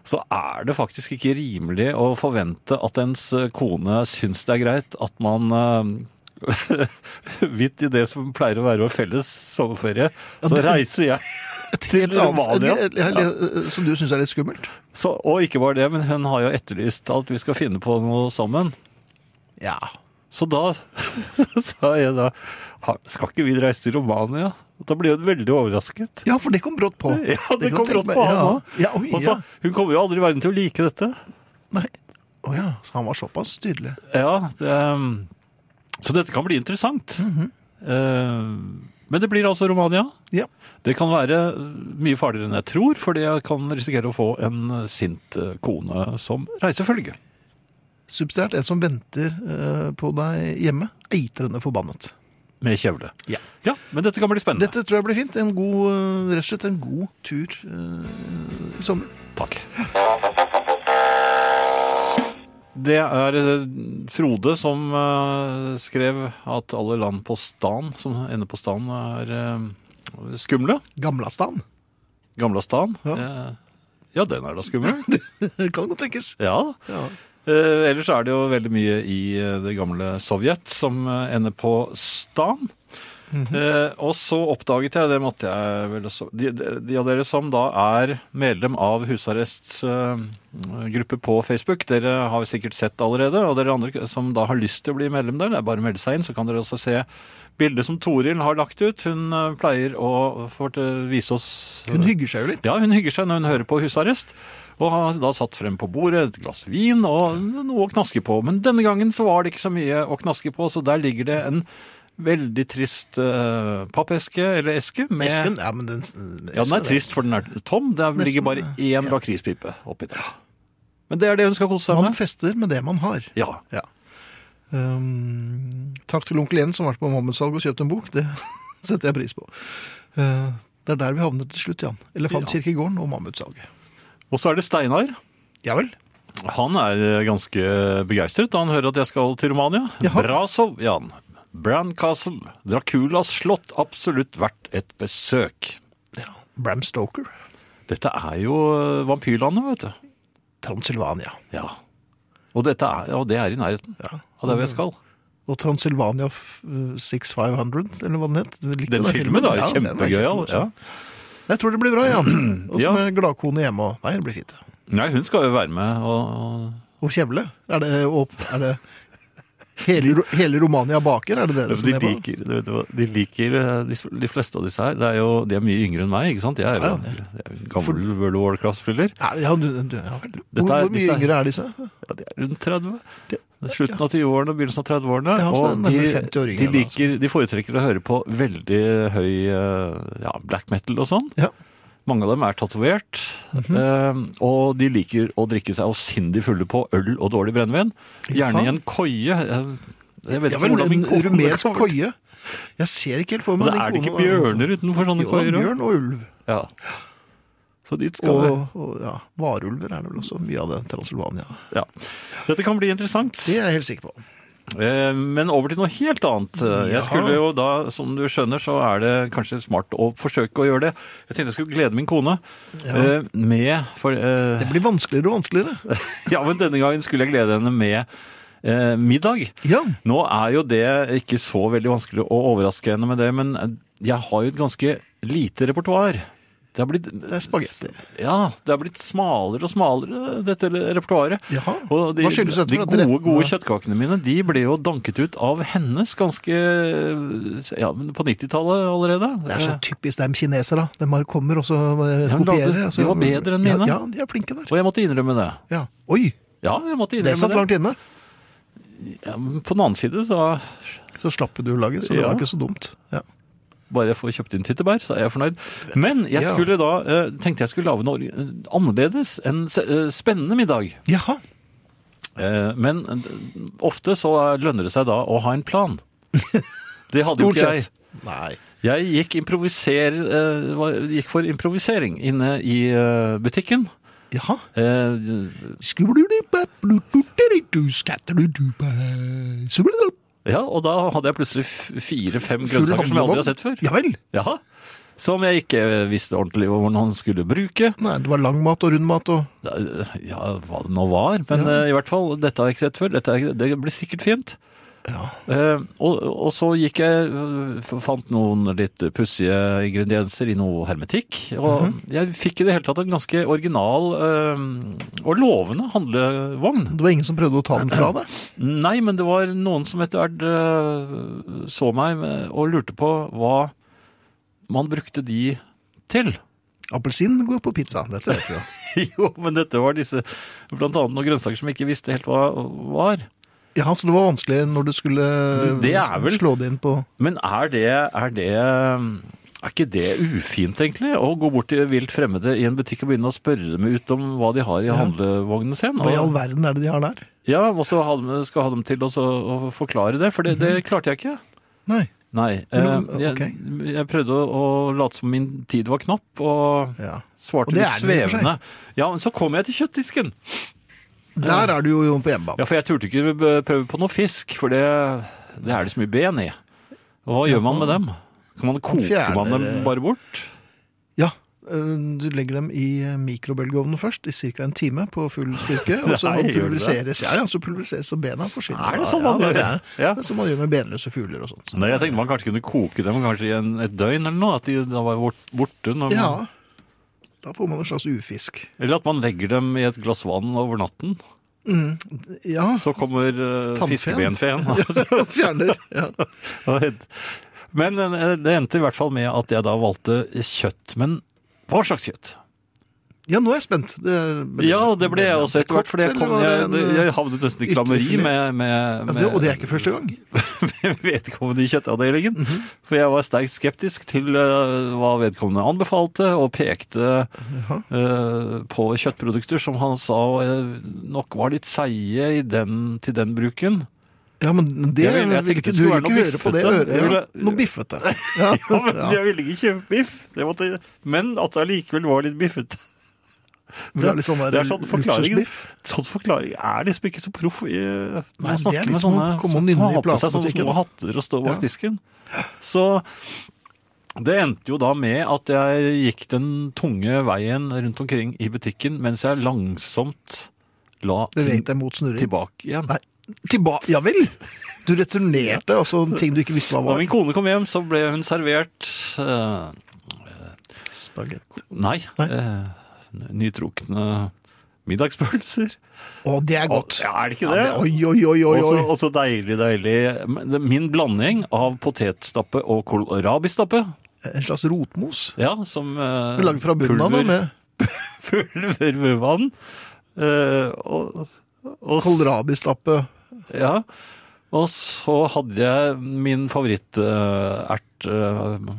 C: så er det faktisk ikke rimelig å forvente at ens eh, kone syns det er greit at man eh, Vidt i det som pleier å være vår felles sommerferie, så
B: det-
C: reiser jeg til Romania.
B: Ja, ja, Som du syns er litt skummelt?
C: Så, og ikke bare det, men hun har jo etterlyst at vi skal finne på noe sammen.
B: Ja.
C: Så da sa jeg da "Ha- Skal ikke vi reise til Romania? Da ble hun veldig overrasket.
B: Ja, for det kom brått på.
C: Ja, det
B: kan
C: kom
B: jeg tenke
C: brått
B: meg.
C: på han
B: ja.
C: òg.
B: Ja, oi,
C: Og så,
B: ja.
C: Hun kommer jo aldri i verden til å like dette.
B: Nei. Å ja, så han var såpass tydelig.
C: Ja, det, um, Så dette kan bli interessant.
B: Mhm.
C: Eh, Men det blir altså Romania.
B: Ja.
C: Det kan være mye farligere enn jeg tror, fordi jeg kan risikere å få en eh, sint eh, kone som reisefølge.
B: Substrært en som venter eh, på deg hjemme, eitrende forbannet.
C: Med kjevle.
B: Ja.
C: ja, men dette kan bli spennende.
B: Dette tror jeg blir fint. En god, eh, rett og slett en god tur eh, i sommer.
C: Takk. Det er eh, Frode som eh, skrev at alle land på stan som ender på stan, er eh, skumle.
B: Gamlastan.
C: Gamla stan.
B: Ja.
C: Eh, ja, den er da skummel.
B: Det kan godt tenkes.
C: ja.
B: Ja.
C: Eh, ellers er det jo veldig mye i eh, det gamle Sovjet som eh, ender på stan.
B: Mhm.
C: eh, og så oppdaget jeg, det måtte jeg vel også de, de, de av dere som da er medlem av husarrestgruppe på Facebook, dere har sikkert sett allerede. Og dere andre som da har lyst til å bli medlem der, det er bare å melde seg inn, så kan dere også se bildet som Toril har lagt ut. Hun eh, pleier å fort- vise oss
B: Hun hygger seg jo litt.
C: ja, hun hygger seg når hun hører på husarrest. Og har da satt frem på bordet et glass vin og noe å knaske på. Men denne gangen så var det ikke så mye å knaske på, så der ligger det en veldig trist eh, pappeske, eller eske, med
B: Esken, ja, men den,
C: Ja, den er trist, for den er tom. Der
B: Nesten,
C: ligger bare én
B: ja.
C: lakrispipe oppi der. Men det er det hun skal kose seg
B: Man
C: med.
B: fester med det man har.
C: Ja.
B: Ja. Ehm, takk til onkel Jens som har vært på Mohammed-salg og kjøpt en bok. Det setter jeg pris på. Eh, det er der vi havner til slutt, Jan. Elefantkirkegården og Mammutsalget.
C: Og så er det Steinar.
B: Ja vel.
C: Han er eh, ganske begeistret da han hører at jeg skal til Romania.
B: Jaha.
C: Brasov, Jan. Bran Castle. Draculas slott. Absolutt verdt et besøk.
B: Bram Stoker.
C: Dette er jo eh, vampyrlandet, vet du.
B: Transylvania.
C: Ja. Og, dette er, og det er i nærheten
B: Ja.
C: av der hvor jeg skal.
B: Og Transylvania f- eh, 6500, eller hva den het. Du likte
C: Den filmen da, er
B: Ja, den
C: altså.
B: er
C: kjempegøyal.
B: kjempemorsom.
C: Ja.
B: Jeg tror det blir bra, Jan. Og så
C: Ja.
B: med gladkone hjemme og Nei, det blir fint.
C: Nei, hun skal jo være med og, og
B: Og kjevle. Er det, og, er det hele, hele Romania baker? Er det det det
C: de
B: står ned på?
C: liker, du vet hva, de liker eh, de, de fleste av disse her. Det er jo, de er mye yngre enn meg, ikke sant? Jeg er jo
B: Ja, ja.
C: jeg er jo gammel World of Warcraft-spiller.
B: Er det- Ja, du, du, ja vel.
C: Dette
B: Hvor,
C: er-
B: hvor
C: disse
B: mye
C: er-
B: yngre er disse?
C: Ja, de er rundt 30.
B: Det-
C: Det er Slutten av 20-årene og begynnelsen av 30-årene.
B: Ja, så
C: og
B: det er nærmere
C: de,
B: 50-åringer
C: de,
B: da,
C: liker, de foretrekker å høre på veldig høy eh, ja, black metal og sånn.
B: Ja. Mhm.
C: Mange av dem er tatovert, eh, og de liker å drikke seg avsindig fulle på øl og dårlig brennevin. Gjerne i en koie. eh, Jeg vet
B: Ja,
C: ikke
B: vel,
C: hvordan min
B: en
C: kone
B: rumensk
C: kommer
B: koie.
C: til-
B: Jeg ser ikke helt for
C: Og
B: meg
C: Da er det ikke
B: kona der, altså.
C: bjørner utenfor sånne
B: Jo, da,
C: koier òg.
B: bjørn og ulv.
C: Ja. Så dit skal
B: Og,
C: vi.
B: og ja, varulver er det vel også mye av det. Transylvania.
C: Ja. Dette kan bli interessant.
B: Det er jeg helt sikker på.
C: Eh, Men over til noe helt annet. Eh,
B: Ja.
C: Jeg skulle jo da, som du skjønner, så er det kanskje smart å forsøke å gjøre det. Jeg tenkte jeg skulle glede min kone eh, med for, eh,
B: Det blir vanskeligere og vanskeligere.
C: Ja, men denne gangen skulle jeg glede henne med eh, middag.
B: Ja,
C: Nå er jo det ikke så veldig vanskelig å overraske henne med det, men jeg har jo et ganske lite repertoar. Det er, blitt, det
B: er spagetti.
C: Ja, det er blitt smalere og smalere, dette repertoaret.
B: Jaha.
C: Og de,
B: Hva skyldes dette
C: De
B: for at
C: gode,
B: rettene-
C: gode kjøttkakene mine, de ble jo danket ut av hennes ganske Ja, men på 90-tallet allerede.
B: Det er så typisk dem kinesere. da. De bare kommer og så eh,
C: Ja, men
B: kopierer.
C: de-
B: og så-
C: de var bedre enn mine.
B: Ja, ja, de er flinke der.
C: Og jeg måtte innrømme det.
B: Ja. Oi,
C: Ja, jeg måtte
B: det satt
C: innrømme det.
B: langt inne.
C: Ja, men på den annen side, så
B: Så slapp du laget, så det
C: Ja.
B: var ikke så dumt. Ja.
C: Bare jeg får kjøpt inn tyttebær, så er jeg fornøyd. Men jeg
B: Ja.
C: skulle da, eh, tenkte jeg skulle lage noe eh, annerledes. En s- eh, spennende middag.
B: Jaha.
C: Eh, Men eh, ofte så lønner det seg da å ha en plan. Det hadde jo
B: Stort
C: ikke jeg.
B: sett.
E: Nei.
C: Jeg gikk, improviser, eh, var- gikk for improvisering inne i eh, butikken.
B: Jaha.
C: Eh, ja, og da hadde jeg plutselig f- fire-fem
B: Full
C: grønnsaker som jeg aldri
B: handlevogn.
C: har sett før.
B: Ja vel.
C: Ja. Som jeg ikke visste ordentlig hvordan han skulle bruke.
B: Nei, det var lang mat og rund mat og
C: Da, eh, Ja, hva det nå var. Men eh, i hvert fall, dette har jeg ikke sett før. Dette, er- det blir sikkert fint. Eh, og, og så gikk jeg, eh, fant noen litt pussige ingredienser i noe hermetikk. Og jeg fikk i det hele tatt en ganske original eh, og lovende handlevogn.
B: Det var ingen som prøvde å ta den fra deg?
C: Nei, men det var noen som etter hvert eh, så meg med- og lurte på hva man brukte de til.
B: Appelsin går på pizza. Dette vet vi jo.
C: jo, men dette var disse, blant annet noen grønnsaker som jeg ikke visste helt hva var.
B: Ja, så det var vanskelig når du skulle
C: Det er vel-
B: slå det inn på
C: Men er det, er det er ikke det ufint, egentlig? Å gå bort til vilt fremmede i en butikk og begynne å spørre dem ut om hva de har i handlevognen sin?
B: Hva i all
C: Og,
B: verden er det de har der?
C: ja, og så ha dem- skal ha dem til å så- å forklare det, for det, det klarte jeg ikke.
B: Nei.
C: Nei.
B: Men,
C: eh,
B: Mhm.
C: jeg,
B: ok.
C: jeg prøvde å, å late som min tid var knapp, og
B: Ja. Og
C: svarte
B: det
C: litt
B: er den i og for seg.
C: svevende. Ja, men så kom jeg til kjøttdisken.
B: Der er du jo på hjemmebane.
C: Ja, for jeg turte ikke b- prøve på noe fisk, for det, det er det så mye ben i. Og hva gjør man med dem? Kan man koke
B: fjerner-
C: man dem bare bort?
B: Ja. eh, Du legger dem i eh, mikrobølgeovnen først, i ca. en time på full styrke. Og så
C: Nei, gjør du det?
B: pulveriseres ja, ja, så pulveriseres og bena forsvinner.
C: Er det sånn
B: ja,
C: man
B: det?
C: gjør det?
B: er-
C: Ja.
B: Det er som man gjør med benløse fugler og sånt.
C: Nei, jeg tenkte man kanskje kunne koke dem kanskje i en, et døgn eller noe, at de da var bort- borte. Når man,
B: Ja. Da får man en slags ufisk.
C: Eller at man legger dem i et glass vann over natten,
B: Ja,
C: så kommer uh,
B: Tannfeen.
C: fiskebenfeen.
B: fjerner. Ja.
C: Men eh, det endte i hvert fall med at jeg da valgte kjøtt, men hva slags kjøtt?
B: ja, nå er jeg spent. Det-
C: Ja, det ble jeg også etter hvert, for jeg,
B: Eller
C: kom,
B: var det
C: jeg,
B: en,
C: jeg havnet nesten i klammeri
B: ytterfilet?
C: med, med,
B: ja,
C: med
B: det, og det er ikke første gang.
C: med vedkommende i kjøttavdelingen. For jeg var sterkt skeptisk til eh, hva vedkommende anbefalte, og pekte eh, på kjøttprodukter som han sa eh, nok var litt seige i den, til den bruken.
B: Ja, men det
C: Jeg vil- jeg
B: vil
C: tenkte
B: ikke
C: det
B: du vil
C: skulle være
B: ikke
C: noe
B: høre på det
C: biffete.
B: øret.
C: Jeg
B: Ja,
C: ville-
B: noe biffete. Ja,
C: Ja, men
B: ja.
C: Jeg ville ikke kjøpe biff, det måtte, men at det allikevel var litt biffete.
B: Vil ha litt sånn der
C: Det er sånn forklaringen,
B: luksusbiff.
C: sånn forklaring er liksom ikke så proff i
B: Nei, det er
C: Man
B: sånn, eh,
C: snakker sånn, eh, med
B: litt som
C: sånne
B: å komme
C: som
B: nynne i
C: har på seg sånne
B: platebutikken.
C: små hatter og står bak
B: Ja.
C: disken. Så det endte jo da med at jeg gikk den tunge veien rundt omkring i butikken mens jeg langsomt la ting
B: Beveget deg mot snurring.
C: tilbake igjen.
B: Nei, tilbake Ja vel! Du returnerte altså ting du ikke visste hva
C: Da
B: var.
C: min kone kom hjem, så ble hun servert eh,
B: Spagetti.
C: Nei.
B: Nei.
C: eh, nytrukne middagspølser.
B: Å, det er godt.
C: Ja, er det ikke
B: Ja,
C: det?
B: det- Oi, oi, oi, oi.
C: Også,
B: oi.
C: også deilig, deilig. Men det- Min blanding av potetstappe og kålrabistappe,
B: En slags rotmos.
C: ja, som eh,
B: Du lager fra bunnen av da,
C: pulver,
B: med
C: pulver med vann. Eh, og, og, s-
B: kålrabistappe.
C: Ja. Og så hadde jeg min favorittert,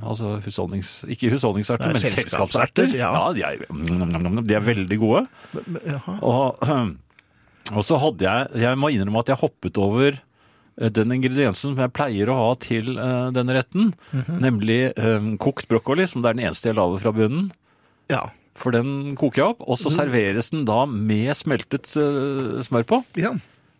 C: altså husholdnings... Ikke husholdningserter,
B: Nei,
C: men
B: selskapserter,
C: selskapserter.
B: ja.
C: de, er, mm, de er veldig gode.
B: Jaha.
C: Og, og så hadde jeg Jeg må innrømme at jeg hoppet over eh, den ingrediensen som jeg pleier å ha til eh, denne retten,
B: Mhm.
C: nemlig eh, kokt brokkoli, som det er den eneste jeg lager fra bunnen.
B: Ja.
C: For den koker jeg opp, og
B: Mhm.
C: så serveres den da med smeltet eh, smør på.
B: ja.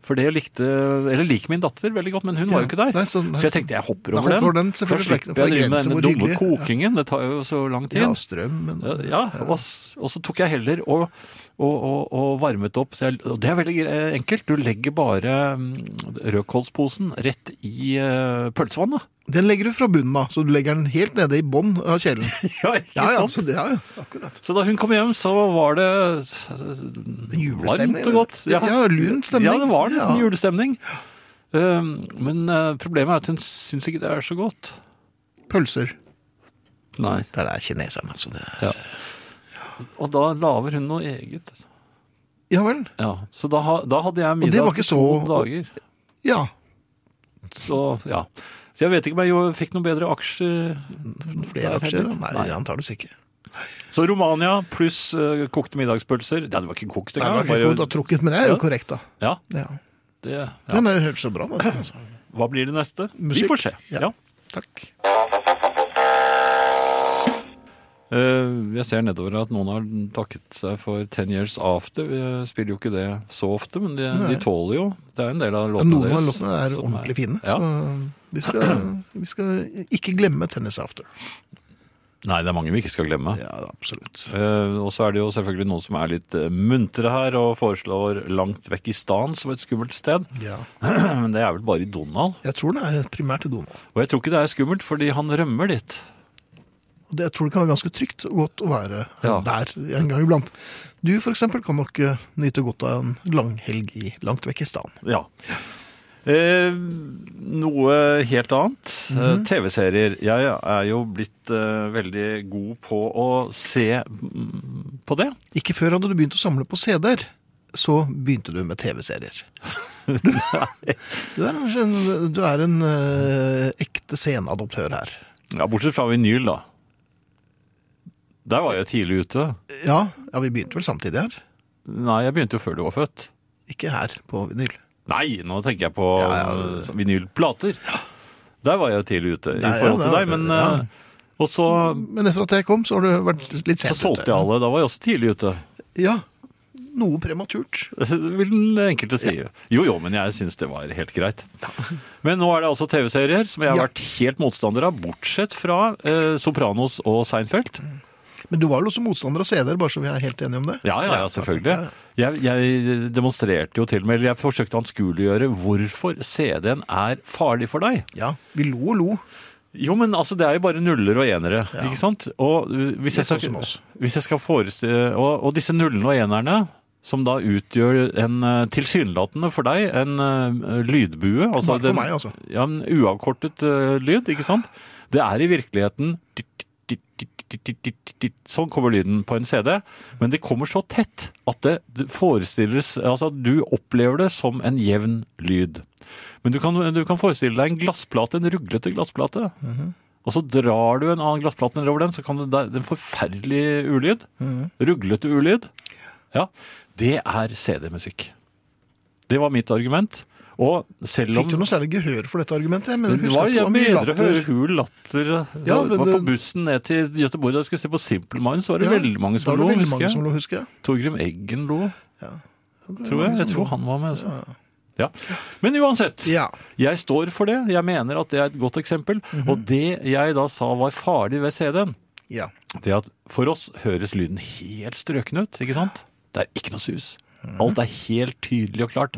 C: For det likte Eller liker min datter veldig godt, men hun var jo ikke der.
B: Nei, så- nei,
C: så jeg tenkte jeg hopper
B: Da
C: over den.
B: hopper den,
C: for da
B: selvfølgelig, for det
C: slipper
B: er
C: jeg å drive med
B: grenser
C: denne
B: hvor
C: dumme
B: hyggelig, ja.
C: kokingen. Det tar jo så lang tid.
B: ja, strøm, men
C: Ja, og, s- og så tok jeg heller og, og, og, og varmet opp. Så jeg, og det er veldig gre- eh, enkelt. Du legger bare mm, rødkålsposen rett i eh, pølsevannet.
B: Den legger du fra bunnen av, så du legger den helt nede i bånn av kjelen.
C: Ja, ikke
B: Ja, ja,
C: sant?
B: så det, ja, ja, akkurat.
C: Så da hun kom hjem, så var det s- varmt
B: julestemning,
C: og godt.
B: ja, lun stemning.
C: Ja, det var nesten
B: Ja.
C: julestemning. Um, men eh, problemet er at hun syns ikke det er så godt.
B: Pølser.
C: Nei.
B: Det er kineserne, så det er
C: Ja. Og da lager hun noe eget.
B: Ja vel.
C: Ja, Så da, ha- da hadde jeg
B: det var
C: middag
B: ikke
C: til to
B: så-
C: dager.
B: Ja.
C: Så ja. Så jeg vet ikke om jeg jo fikk noen bedre aksjer.
B: Flere
C: Der
B: aksjer? da?
C: heller.
B: Nei,
C: Nei.
B: antakeligvis ikke.
C: Så Romania pluss eh, kokte middagspølser Ja, det var ikke kokt
B: Nei, det
C: engang.
B: var ikke godt å
C: bare-
B: ha trukket, men det er jo
C: Ja.
B: korrekt, da.
C: Ja,
B: Ja.
C: det, ja.
B: Den er hørt så bra ut. Altså.
C: Hva blir det neste?
B: Musikk.
C: Vi får se.
B: Ja.
C: Ja.
B: Takk.
C: Eh, Jeg ser nedover at noen har takket seg for Ten Years After. Vi eh, spiller jo ikke det så ofte, men de,
B: Nei.
C: de tåler jo. Det er en del av
B: Ja,
C: låtene
B: Noen av
C: deres.
B: låtene er
C: som
B: ordentlig fine,
C: Sånn Ja.
B: så vi skal, vi skal ikke glemme 'Tennis After'.
C: Nei, det er mange vi ikke skal glemme.
B: Ja, absolutt.
C: Eh, og så er det jo selvfølgelig noen som er litt eh, muntre her og foreslår langt vekk i stan som et skummelt sted.
B: Ja.
C: Men det er vel bare i Donald.
B: Jeg tror den er primært i Donald.
C: Og jeg tror ikke det er skummelt, fordi han rømmer dit.
B: Og det, jeg tror det kan være ganske trygt og godt å være
C: Ja.
B: der en gang iblant. Du for eksempel kan nok eh, nyte godt av en langhelg i langt vekk i staden.
C: Ja. Eh, noe helt annet. eh, TV-serier. Jeg er jo blitt eh, veldig god på å se mm, på det.
B: Ikke før hadde du begynt å samle på CD-er, så begynte du med TV-serier. Du, er en, du er en eh, ekte sceneadoptør her.
C: Ja, Bortsett fra vinyl, da. Der var jeg tidlig ute.
B: Ja, ja, vi begynte vel samtidig her.
C: Nei, jeg begynte jo før du var født.
B: Ikke her på vinyl.
C: Nei, nå tenker jeg på
B: Ja, ja.
C: eh, vinylplater. Der var jeg jo tidlig ute i
B: Der, ja,
C: forhold til
B: der,
C: deg, men
B: ja.
C: eh, Og så,
B: Men etter at jeg kom, så har du vært litt
C: så
B: sent
C: solgte jeg alle. Da var jeg også tidlig ute.
B: Ja, noe prematurt.
C: vil den enkelte si. Jo jo, men jeg syns det var helt greit. Men nå er det altså TV-serier som jeg har
B: Ja.
C: vært helt motstander av, bortsett fra eh, Sopranos og Seinfeld.
B: Men du var vel også motstander av CD-er, bare så vi er helt enige om det?
C: Ja, ja, ja, selvfølgelig. Jeg, jeg demonstrerte jo til og med, eller jeg forsøkte å anskueliggjøre hvorfor CD-en er farlig for deg.
B: Ja, vi lo og lo.
C: Jo, men altså, det er jo bare nuller og enere, ikke sant? Og, uh, hvis, jeg
B: Litt sånn
C: skal,
B: som oss.
C: hvis jeg skal forestille og, og disse nullene og enerne, som da utgjør en uh, tilsynelatende for deg, en uh, lydbue altså,
B: Bare for meg, altså.
C: Ja, en uavkortet uh, lyd, ikke sant? Det er i virkeligheten Sånn kommer lyden på en CD, men det kommer så tett at det det forestilles Altså, du opplever det som en jevn lyd. Men du kan, du kan forestille deg en glassplate, en ruglete glassplate.
B: Mhm.
C: Og så drar du en annen glassplate nedover den, så kan du, det er en forferdelig ulyd.
B: Mhm.
C: Ruglete ulyd. Ja, det er CD-musikk. Det var mitt argument. Og selv om
B: Fikk du noe særlig gehør for dette argumentet? Men
C: det
B: husk
C: var,
B: at det
C: jeg
B: var mye
C: bedre å høre
B: latter.
C: hul latter. eh,
B: Ja,
C: jeg
B: men
C: var på
B: det-
C: bussen ned til Göteborg da jeg skulle se på Simple Minds, så var det
B: Ja,
C: veldig mange
B: Da var
C: som lo,
B: det veldig
C: husker
B: mange
C: jeg.
B: som lo, husker jeg.
C: Torgrim Eggen lo,
B: Ja, det var
C: tror jeg.
B: mange
C: Jeg
B: som lo.
C: tror han var med. Altså. Ja. Men uansett,
B: Ja.
C: jeg står for det. Jeg mener at det er et godt eksempel.
B: Mhm.
C: Og det jeg da sa var farlig ved CD-en,
B: ja.
C: det at for oss høres lyden helt strøken ut, ikke sant? Det er ikke noe sus. Alt er helt tydelig og klart.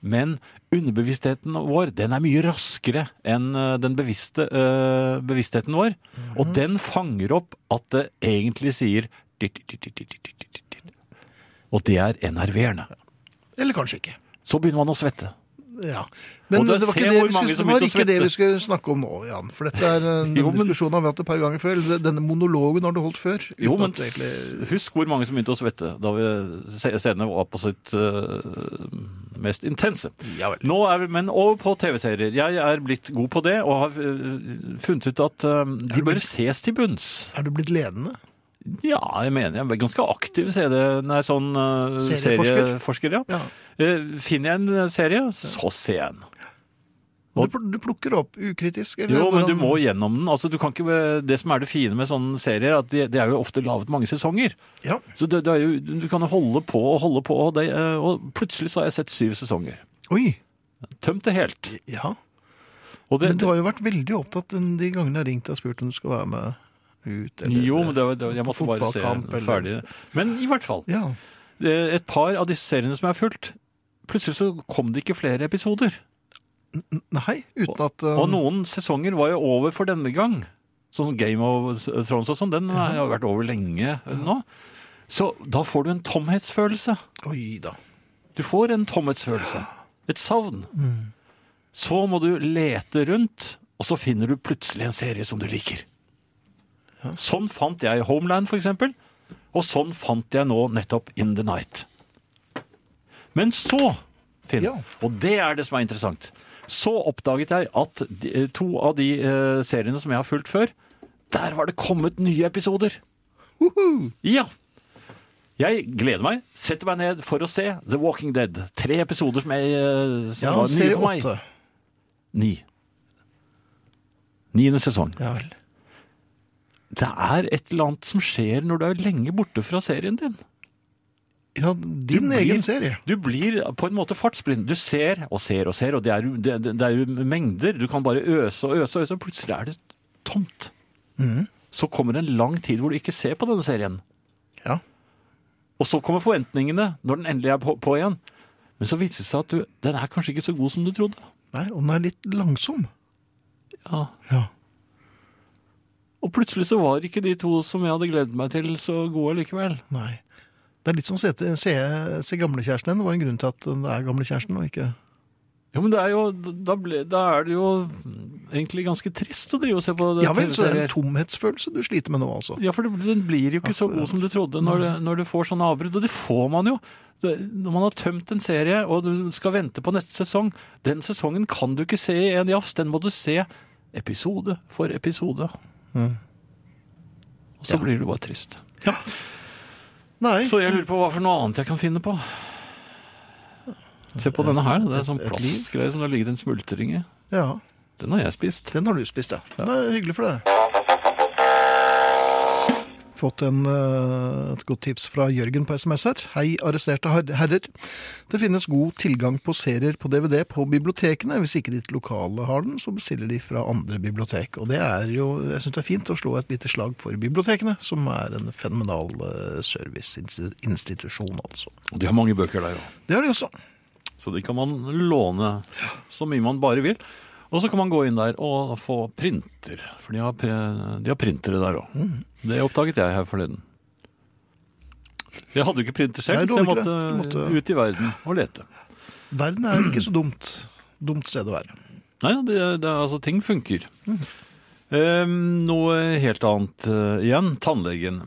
C: Men underbevisstheten vår, den er mye raskere enn eh, den bevisste eh, bevisstheten vår. Og den fanger opp at det egentlig sier dit, dit, dit, dit, dit, dit, dit, dit. Og det er enerverende.
B: Eller kanskje ikke.
C: Så begynner man å svette.
B: Ja. Men
C: Og da
B: det var
C: se
B: ikke,
C: hvor
B: det vi,
C: mange
B: skulle,
C: som
B: det var
C: begynte å
B: ikke det
C: svette.
B: vi skulle snakke om nå, Jan. For dette er eh, en
C: Jo, men-
B: diskusjon vi har hatt et par ganger før. Denne monologen har du holdt før. uten
C: Jo, men
B: at det egentlig-
C: s- husk hvor mange som begynte å svette da vi- se- scenene var på sitt eh, mest intense.
B: Ja vel.
C: Nå er vi, men over på TV-serier. Jeg er blitt god på det, og har øh, funnet ut at øh, de bør ses til bunns.
B: Er du blitt ledende?
C: Ja, jeg mener jeg er ganske aktiv CD, nei, sånn, øh,
B: Serieforsker?
C: serieforsker. Ja.
B: Ja.
C: Eh, Finner jeg en serie, så ser jeg den.
B: Og du, pl- du plukker opp ukritisk? Eller
C: Jo, men du
B: hvordan-
C: må gjennom den. Altså, du kan ikke, det som er det fine med sånne serier, at det de er jo ofte laget mange sesonger.
B: Ja.
C: Så det, det er jo, du kan holde på og holde på, og, det, øh, og plutselig så har jeg sett syv sesonger.
B: Oi.
C: Tømt det helt.
B: Ja.
C: Og det,
B: Men du har jo vært veldig opptatt den- de gangene jeg har ringt og spurt om du skal være med ut.
C: jo, men det, var- det, var- jeg
B: på
C: måtte bare
B: fotballkamp,
C: se
B: eller-
C: ferdig. Men i hvert fall.
B: Ja.
C: Eh, et par av disse seriene som jeg har fulgt, plutselig så kom det ikke flere episoder.
B: N- Nei, uten at
C: Og
B: um,
C: noen sesonger var jo over for denne gang. Sånn Game of Thrones og sånn, den har jo vært over lenge nå. Så da får du en tomhetsfølelse.
B: Oi da.
C: Du får en tomhetsfølelse. Et savn. Så må du lete rundt, og så finner du plutselig en serie som du liker. Sånn fant jeg Homeland, for eksempel. Og sånn fant jeg nå nettopp In the Night. Men så, Finn,
B: Ja.
C: og det er det som er interessant, så oppdaget jeg at de, eh, to av de eh, seriene som jeg har fulgt før, der var det kommet nye episoder. Ja. Jeg gleder meg. Setter meg ned for å se The Walking Dead. Tre episoder som, jeg, eh, som
B: Ja,
C: var nye
B: serie
C: for meg.
B: åtte.
C: Ni. Niende sesong.
B: Ja vel.
C: Det er et eller annet som skjer når du er lenge borte fra serien din.
B: Ja, din
C: blir-
B: egen serie.
C: Du blir på en måte fartsblind. Du ser og ser og ser, og det er, jo- det, det det er jo mengder. Du kan bare øse og øse og øse, og plutselig er det tomt.
B: Mm.
C: Så kommer det en lang tid hvor du ikke ser på denne serien.
B: Ja.
C: Og så kommer forventningene når den endelig er på, på igjen. Men så viser det seg at du, den er kanskje ikke så god som du trodde.
B: Nei, og den er litt langsom.
C: Ja.
B: Ja.
C: Og plutselig så var ikke de to som jeg hadde gledet meg til, så gode likevel.
B: Nei. Det er litt som å se, til- se, se gamlekjæresten din. Det var en grunn til at den er gamlekjæresten og ikke
C: Jo, men det er jo, da, ble, da er det jo egentlig ganske trist å drive og se på det
B: Ja vel, så det er
C: TV-serier.
B: en tomhetsfølelse du sliter med nå, altså.
C: Ja, for det- den blir jo ikke så god som du trodde når, du- når du får sånne avbrudd. Og det får man jo. Det, når man har tømt en serie, og du skal vente på neste sesong Den sesongen kan du ikke se i en jafs. Den må du se episode for episode. Mm. Og så blir du bare trist.
B: Nei.
C: Så jeg lurer på hva for noe annet jeg kan finne på. Se på denne her. Det er sånn
B: Et- et liv.
C: plastgreie som det ligger en smultring i.
B: Ja.
C: Den har jeg spist.
B: Den har du spist, ja. Det er hyggelig for deg. Fått en, eh, et godt tips fra Jørgen på SMS her. Hei, arresterte her- herrer. Det finnes god tilgang på serier på DVD på bibliotekene. Hvis ikke ditt lokale har den, så bestiller de fra andre bibliotek. Og det er jo, jeg syns det er fint å slå et lite slag for bibliotekene, som er en fenomenal eh, serviceinstitusjon, altså.
C: Og de har mange bøker der òg.
B: Det er de også.
C: Så de kan man låne så mye man bare vil. Og så kan man gå inn der og få printer, for de har, pre- de har printere der òg.
B: Mm.
C: Det oppdaget jeg her forleden. Jeg hadde jo ikke printer selv,
B: Nei, du
C: så jeg
B: hadde ikke
C: måtte,
B: det. Så du måtte-
C: ut i verden og lete.
B: Verden er ikke så dumt. Dumt sted å være.
C: Nei, det, det, er- altså ting funker.
B: Mm.
C: Eh, noe helt annet eh, igjen. Tannlegen.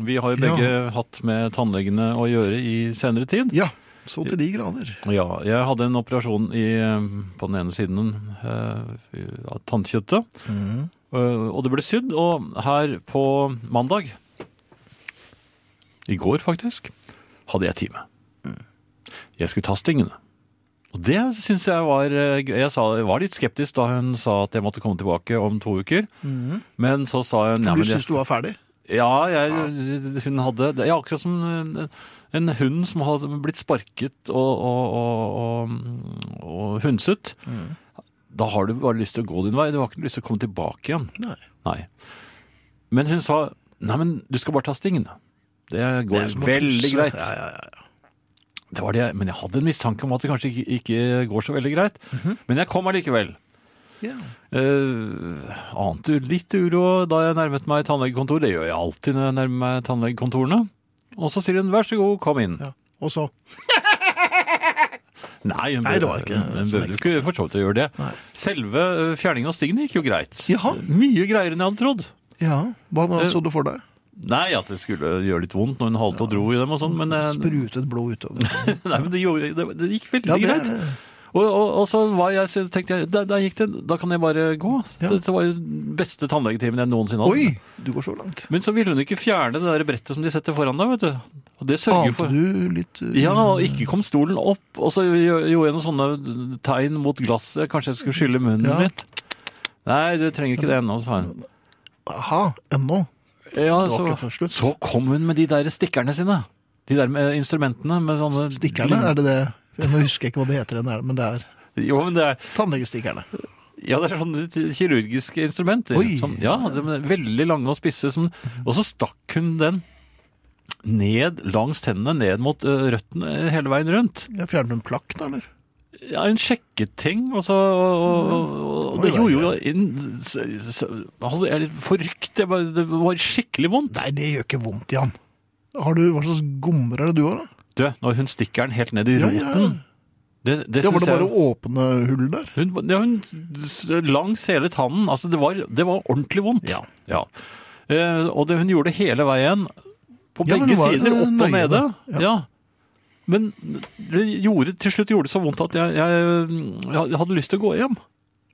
C: Vi har jo begge hatt med tannlegene å gjøre i senere tid.
B: Ja, så til de grader.
C: Ja, jeg hadde en operasjon i, eh, på den ene siden eh, av tannkjøttet. Eh, Og det ble sydd. Og her på mandag, i går faktisk, hadde jeg time. Jeg skulle ta stingene. Og det syns jeg var eh, gøy. Jeg, sa, jeg var litt skeptisk da hun sa at jeg måtte komme tilbake om to uker. Men så sa hun "Nei,
B: Du
C: men jeg-
B: syns du var ferdig?
C: ja, jeg, hun hadde det er akkurat som en- en hund som hadde blitt sparket og, og, og, og, og hundset.
B: Mm.
C: Da har du bare lyst til å gå din vei, du har ikke lyst til å komme tilbake igjen.
B: Nei.
C: Nei. Men hun sa Nei, men du skal bare ta stingene. Det går
B: Det er som å
C: veldig
B: pusse.
C: greit.
B: Ja, ja, ja.
C: Det var det, men jeg hadde en mistanke om at det kanskje ikke, ikke går så veldig greit.
B: Mhm.
C: Men jeg kom allikevel.
B: Ja.
C: Eh, ante litt uro da jeg nærmet meg tannlegekontor. Det gjør jeg alltid når jeg nærmer meg tannlegekontorene. Og så sier hun 'vær så god, kom inn'.
B: Ja. Og så
C: Nei, hun
B: Nei, det var
C: bør-
B: ikke
C: hun
B: så
C: bør jo
B: ekstremt.
C: ikke for så vidt å gjøre det.
B: Nei.
C: Selve eh, fjerningen av stingene gikk jo greit.
B: Jaha.
C: Mye greiere enn jeg hadde trodd.
B: Ja, hva da
C: Eh,
B: så du for deg?
C: Nei, at det skulle gjøre litt vondt når hun halte og dro i dem og sånn, men, eh,
B: Sprutet blod utover.
C: nei, men det, gjorde, det, det gikk veldig
B: Ja, det
C: greit.
B: er-
C: Og, og, og så var jeg, så tenkte jeg, da, da gikk det, da kan jeg bare gå.
B: Ja.
C: Dette var jo beste tannlegetimen jeg noensinne hadde.
B: Oi, du går så langt.
C: Men så ville hun ikke fjerne det der brettet som de setter foran deg, vet du. Og det sørger jo
B: Ante
C: for...
B: du litt uh,
C: Ja, og ikke kom stolen opp, og så gjø- gjorde jeg noen sånne tegn mot glasset. Kanskje jeg skulle skylle munnen
B: Ja.
C: litt. Nei, du trenger ikke det ennå, sa hun.
B: Aha, ennå.
C: Ja,
B: Det var ikke for
C: så,
B: slutt.
C: så kom hun med de der stikkerne sine. De der med instrumentene med sånne
B: Stikkerne, er det det? Nå husker jeg ikke hva det heter, igjen, men det er
C: Jo, men det er,
B: tannlegestikkerne.
C: ja, det er sånne kirurgiske instrumenter.
B: Oi. Mhm.
C: Som, ja, de er Veldig lange og spisse. Som, og så stakk hun den ned langs tennene, ned mot ø, røttene hele veien rundt.
B: Jeg fjerner en plakk da, eller?
C: Ja, en sjekketing, og så og, og, og
B: Oi,
C: Det
B: oi,
C: gjorde jo
B: oi.
C: inn- s- s- altså, Jeg er litt forrykt. Det var, det var skikkelig vondt.
B: Nei, det gjør ikke vondt, Jan. Har du, hva slags gommer er det du har, da?
C: Du, når hun stikker den helt ned i
B: Ja,
C: roten
B: ja.
C: Det, det
B: Ja, Var
C: syns
B: det bare
C: jeg
B: å åpne hull der?
C: hun, ja, hun s- Langs hele tannen. Altså, det var, det var ordentlig vondt.
B: Ja.
C: Eh, og det hun gjorde hele veien, på
B: Ja, men
C: begge
B: hun var,
C: sider,
B: eh,
C: opp og
B: nøye,
C: nede.
B: da. Ja.
C: Ja. Men det gjorde, til slutt gjorde det så vondt at jeg, jeg, jeg hadde lyst til å gå hjem.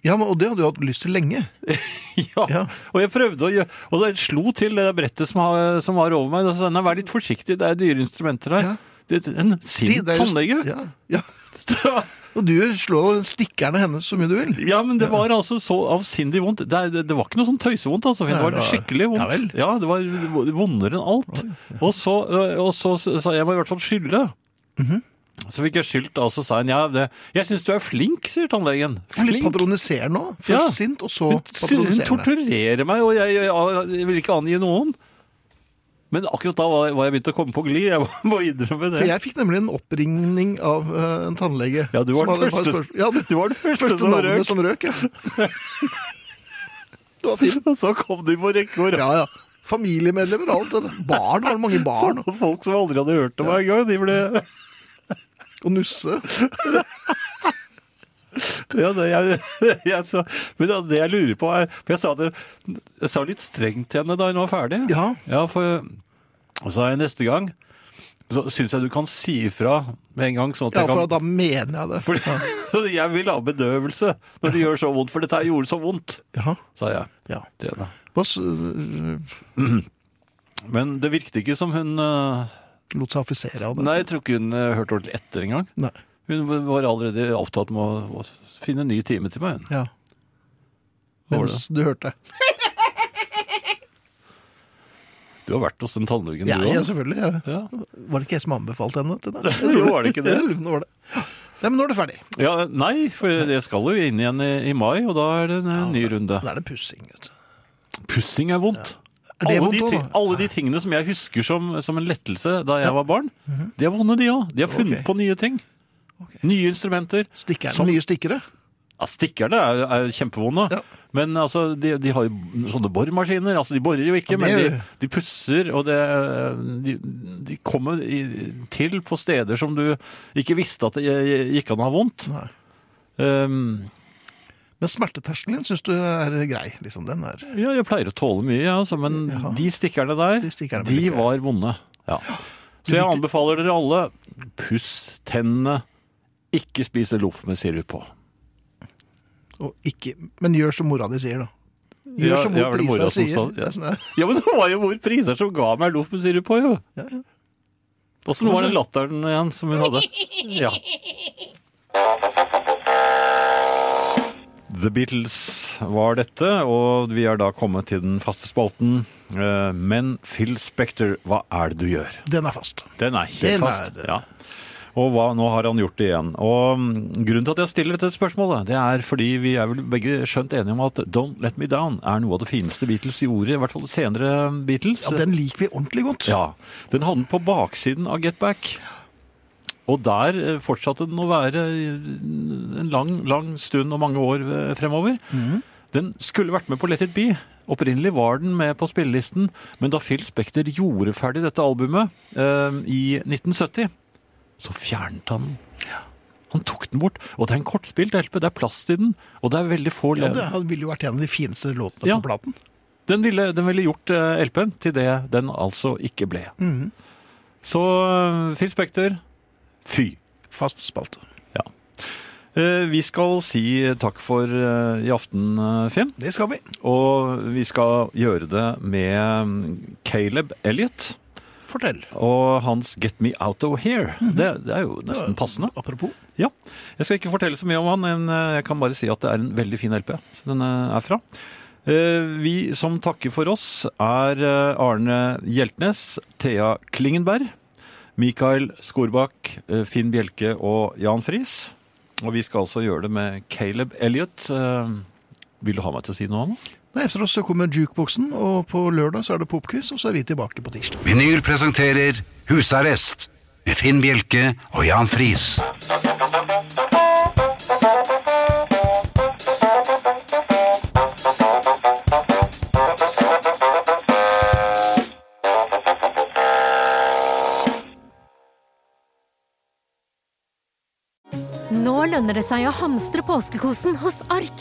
B: Ja, men, og det hadde du hatt lyst til lenge.
C: Ja.
B: Ja.
C: Og jeg prøvde å gjøre Og det slo til det brettet som, har, som var over meg. Og så sa jeg, nei, vær litt forsiktig, det er dyre instrumenter her.
B: Ja.
C: Det er en
B: De-
C: sint
B: det er jo-
C: tannlege.
B: Ja, ja. Og du slår stikkerne hennes så mye du vil.
C: Ja, men det var altså så avsindig vondt. Det, er- det var ikke noe sånn tøysevondt, altså. Finn.
B: Nei,
C: Det var
B: det var-
C: skikkelig vondt.
B: Ja vel.
C: det var vondere enn alt. Og så, øh, og så sa jeg må i hvert fall skylle.
B: Mhm.
C: Så fikk jeg skyldt, og så sa hun ja, det, jeg syns du er flink, sier tannlegen.
B: Litt
C: Flink.
B: patroniserende òg. Først
C: Ja.
B: sint, og så
C: Hun, hun
B: patroniserende.
C: torturerer meg, og jeg, jeg, jeg vil ikke angi noen. Men akkurat da var, var jeg begynt å komme på glid. Jeg må- må
B: For
C: innrømme det.
B: jeg fikk nemlig en oppringning av eh, en tannlege.
C: Ja, du var
B: som
C: den
B: hadde et par
C: første-
B: spørsmål. Ja, det
C: Du var den første,
B: første
C: som
B: navnet
C: røk,
B: som røk, ja. Det var fint.
C: og så kom du på rekke og rad.
B: Ja, ja. Familiemedlemmer og alt. det. Barn, var det mange barn?
C: Og folk som aldri hadde hørt om meg engang, de ble
B: Og nusse.
C: Ja, det, jeg, jeg, så, men det- det jeg lurer på er For jeg sa, det, jeg sa litt strengt til henne da hun var ferdig.
B: Ja.
C: for og så sa jeg neste gang så syns jeg du kan si ifra med en gang. sånn at
B: Ja,
C: jeg kan...
B: for da mener jeg det.
C: Fordi, jeg vil ha bedøvelse når det gjør så vondt, for dette her gjorde så vondt,
B: Ja.
C: sa jeg.
B: Ja.
C: til henne.
B: Hva s- øh,
C: Men det virket ikke som hun eh,
B: lot seg affisere av det?
C: Nei, jeg tror ikke hun eh, hørte ordentlig etter engang.
B: Nei.
C: Hun var allerede opptatt med å, å finne en ny time til meg. hun.
B: Ja.
C: Hva var
B: Mens du hørte.
C: Du har vært hos den tannlegen,
B: Ja,
C: du
B: ja,
C: òg?
B: selvfølgelig. Ja.
C: Ja.
B: Var det ikke jeg som anbefalte henne til det?
C: Jo, var det ikke det?
B: Jeg lurer på om det var det. Nei, men nå er det ferdig.
C: ja, nei, for jeg skal jo inn igjen i, i mai, og da er det en eh, ny runde.
B: Da er det pussing. vet du.
C: Pussing er vondt.
B: Er det
C: alle,
B: vondt
C: de
B: også,
C: ting,
B: da?
C: alle de tingene som jeg husker som, som en lettelse da jeg var barn, de er vonde, de òg. De har funnet
B: Mhm. Ok.
C: på nye ting. Nye instrumenter.
B: Stikkerne,
C: Som-
B: Nye stikkere.
C: Ja, stikkerne er, er kjempevonde.
B: Ja.
C: Men altså, de, de har jo sånne boremaskiner. Altså, de borer jo ikke,
B: Ja, det
C: men
B: gjør
C: de,
B: de.
C: de pusser, og det, de, de kommer i, til på steder som du ikke visste at det gikk an å ha vondt.
B: Nei.
C: Um,
B: Men smerteterskelen din syns du er grei. liksom den er.
C: ja, jeg pleier å tåle mye, ja, altså, men
B: Jaha.
C: de stikkerne der,
B: De
C: de,
B: stikkerne blir ikke-
C: var vonde. Ja. Så jeg anbefaler dere alle, puss tennene, ikke spise loff med sirup på.
B: Og ikke, men gjør som mora di sier, da. Gjør
C: Ja,
B: som
C: ja,
B: mor
C: var det mora
B: Prisa
C: som
B: sier.
C: sa- ja.
B: Det er sånn,
C: Ja, men det var jo mor Prisar som ga meg loff med sirup på, jo.
B: Ja, ja.
C: Åssen var den latteren igjen som hun hadde? Ja. The Beatles var dette, og vi er da kommet til den faste spalten. Eh, Men Phil Spector, hva er det du gjør?
B: Den er fast.
C: Den er helt
B: Den er
C: fast.
B: det.
C: Ja. Og hva, nå har han gjort det igjen. Og mm, Grunnen til at jeg stiller dette spørsmålet, det er fordi vi er vel begge skjønt enige om at Don't Let Me Down er noe av det fineste Beatles gjorde, i hvert fall senere mm, Beatles.
B: Ja, Den liker vi ordentlig godt.
C: Ja, den havnet på baksiden av Get Back. Og der eh, fortsatte den å være eh, en lang, lang stund og mange år eh, fremover. Den skulle vært med på Let It Be. Opprinnelig var den med på spillelisten, men da Phil Spector gjorde ferdig dette albumet eh, i 1970, så fjernet han den. Han tok den bort, og det er en kortspilt LP. Det er plass til den, og det er veldig få
B: Ja,
C: lev-
B: det ville jo vært en av de fineste låtene
C: Ja.
B: på platen.
C: den ville, den ville gjort eh, LP-en til det den altså ikke ble.
B: Mhm.
C: Så eh, Phil Spector, fy.
B: Fast spalte.
C: Eh, Vi skal si takk for eh, i aften, eh, Finn.
B: Det skal vi.
C: Og vi skal gjøre det med mm, Caleb Elliot
B: Fortell.
C: og hans 'Get Me Out of Here'. det, det er jo nesten passende.
B: Apropos.
C: Ja. Jeg skal ikke fortelle så mye om han, men eh, jeg kan bare si at det er en veldig fin LP som den eh, er fra. Eh, Vi som takker for oss, er eh, Arne Hjeltnes, Thea Klingenberg, Mikael Skorbakk, eh, Finn Bjelke og Jan Friis. Og vi skal også gjøre det med Caleb Elliot. Eh, Vil du ha meg til å si noe om det?
B: Nei, Etter oss så kommer jukeboksen, og på lørdag så er det popquiz, og så er vi tilbake på tirsdag.
A: Vinyl presenterer Husarrest med Finn Bjelke og Jan Friis.
G: Nå lønner det seg å hamstre påskekosen hos Ark.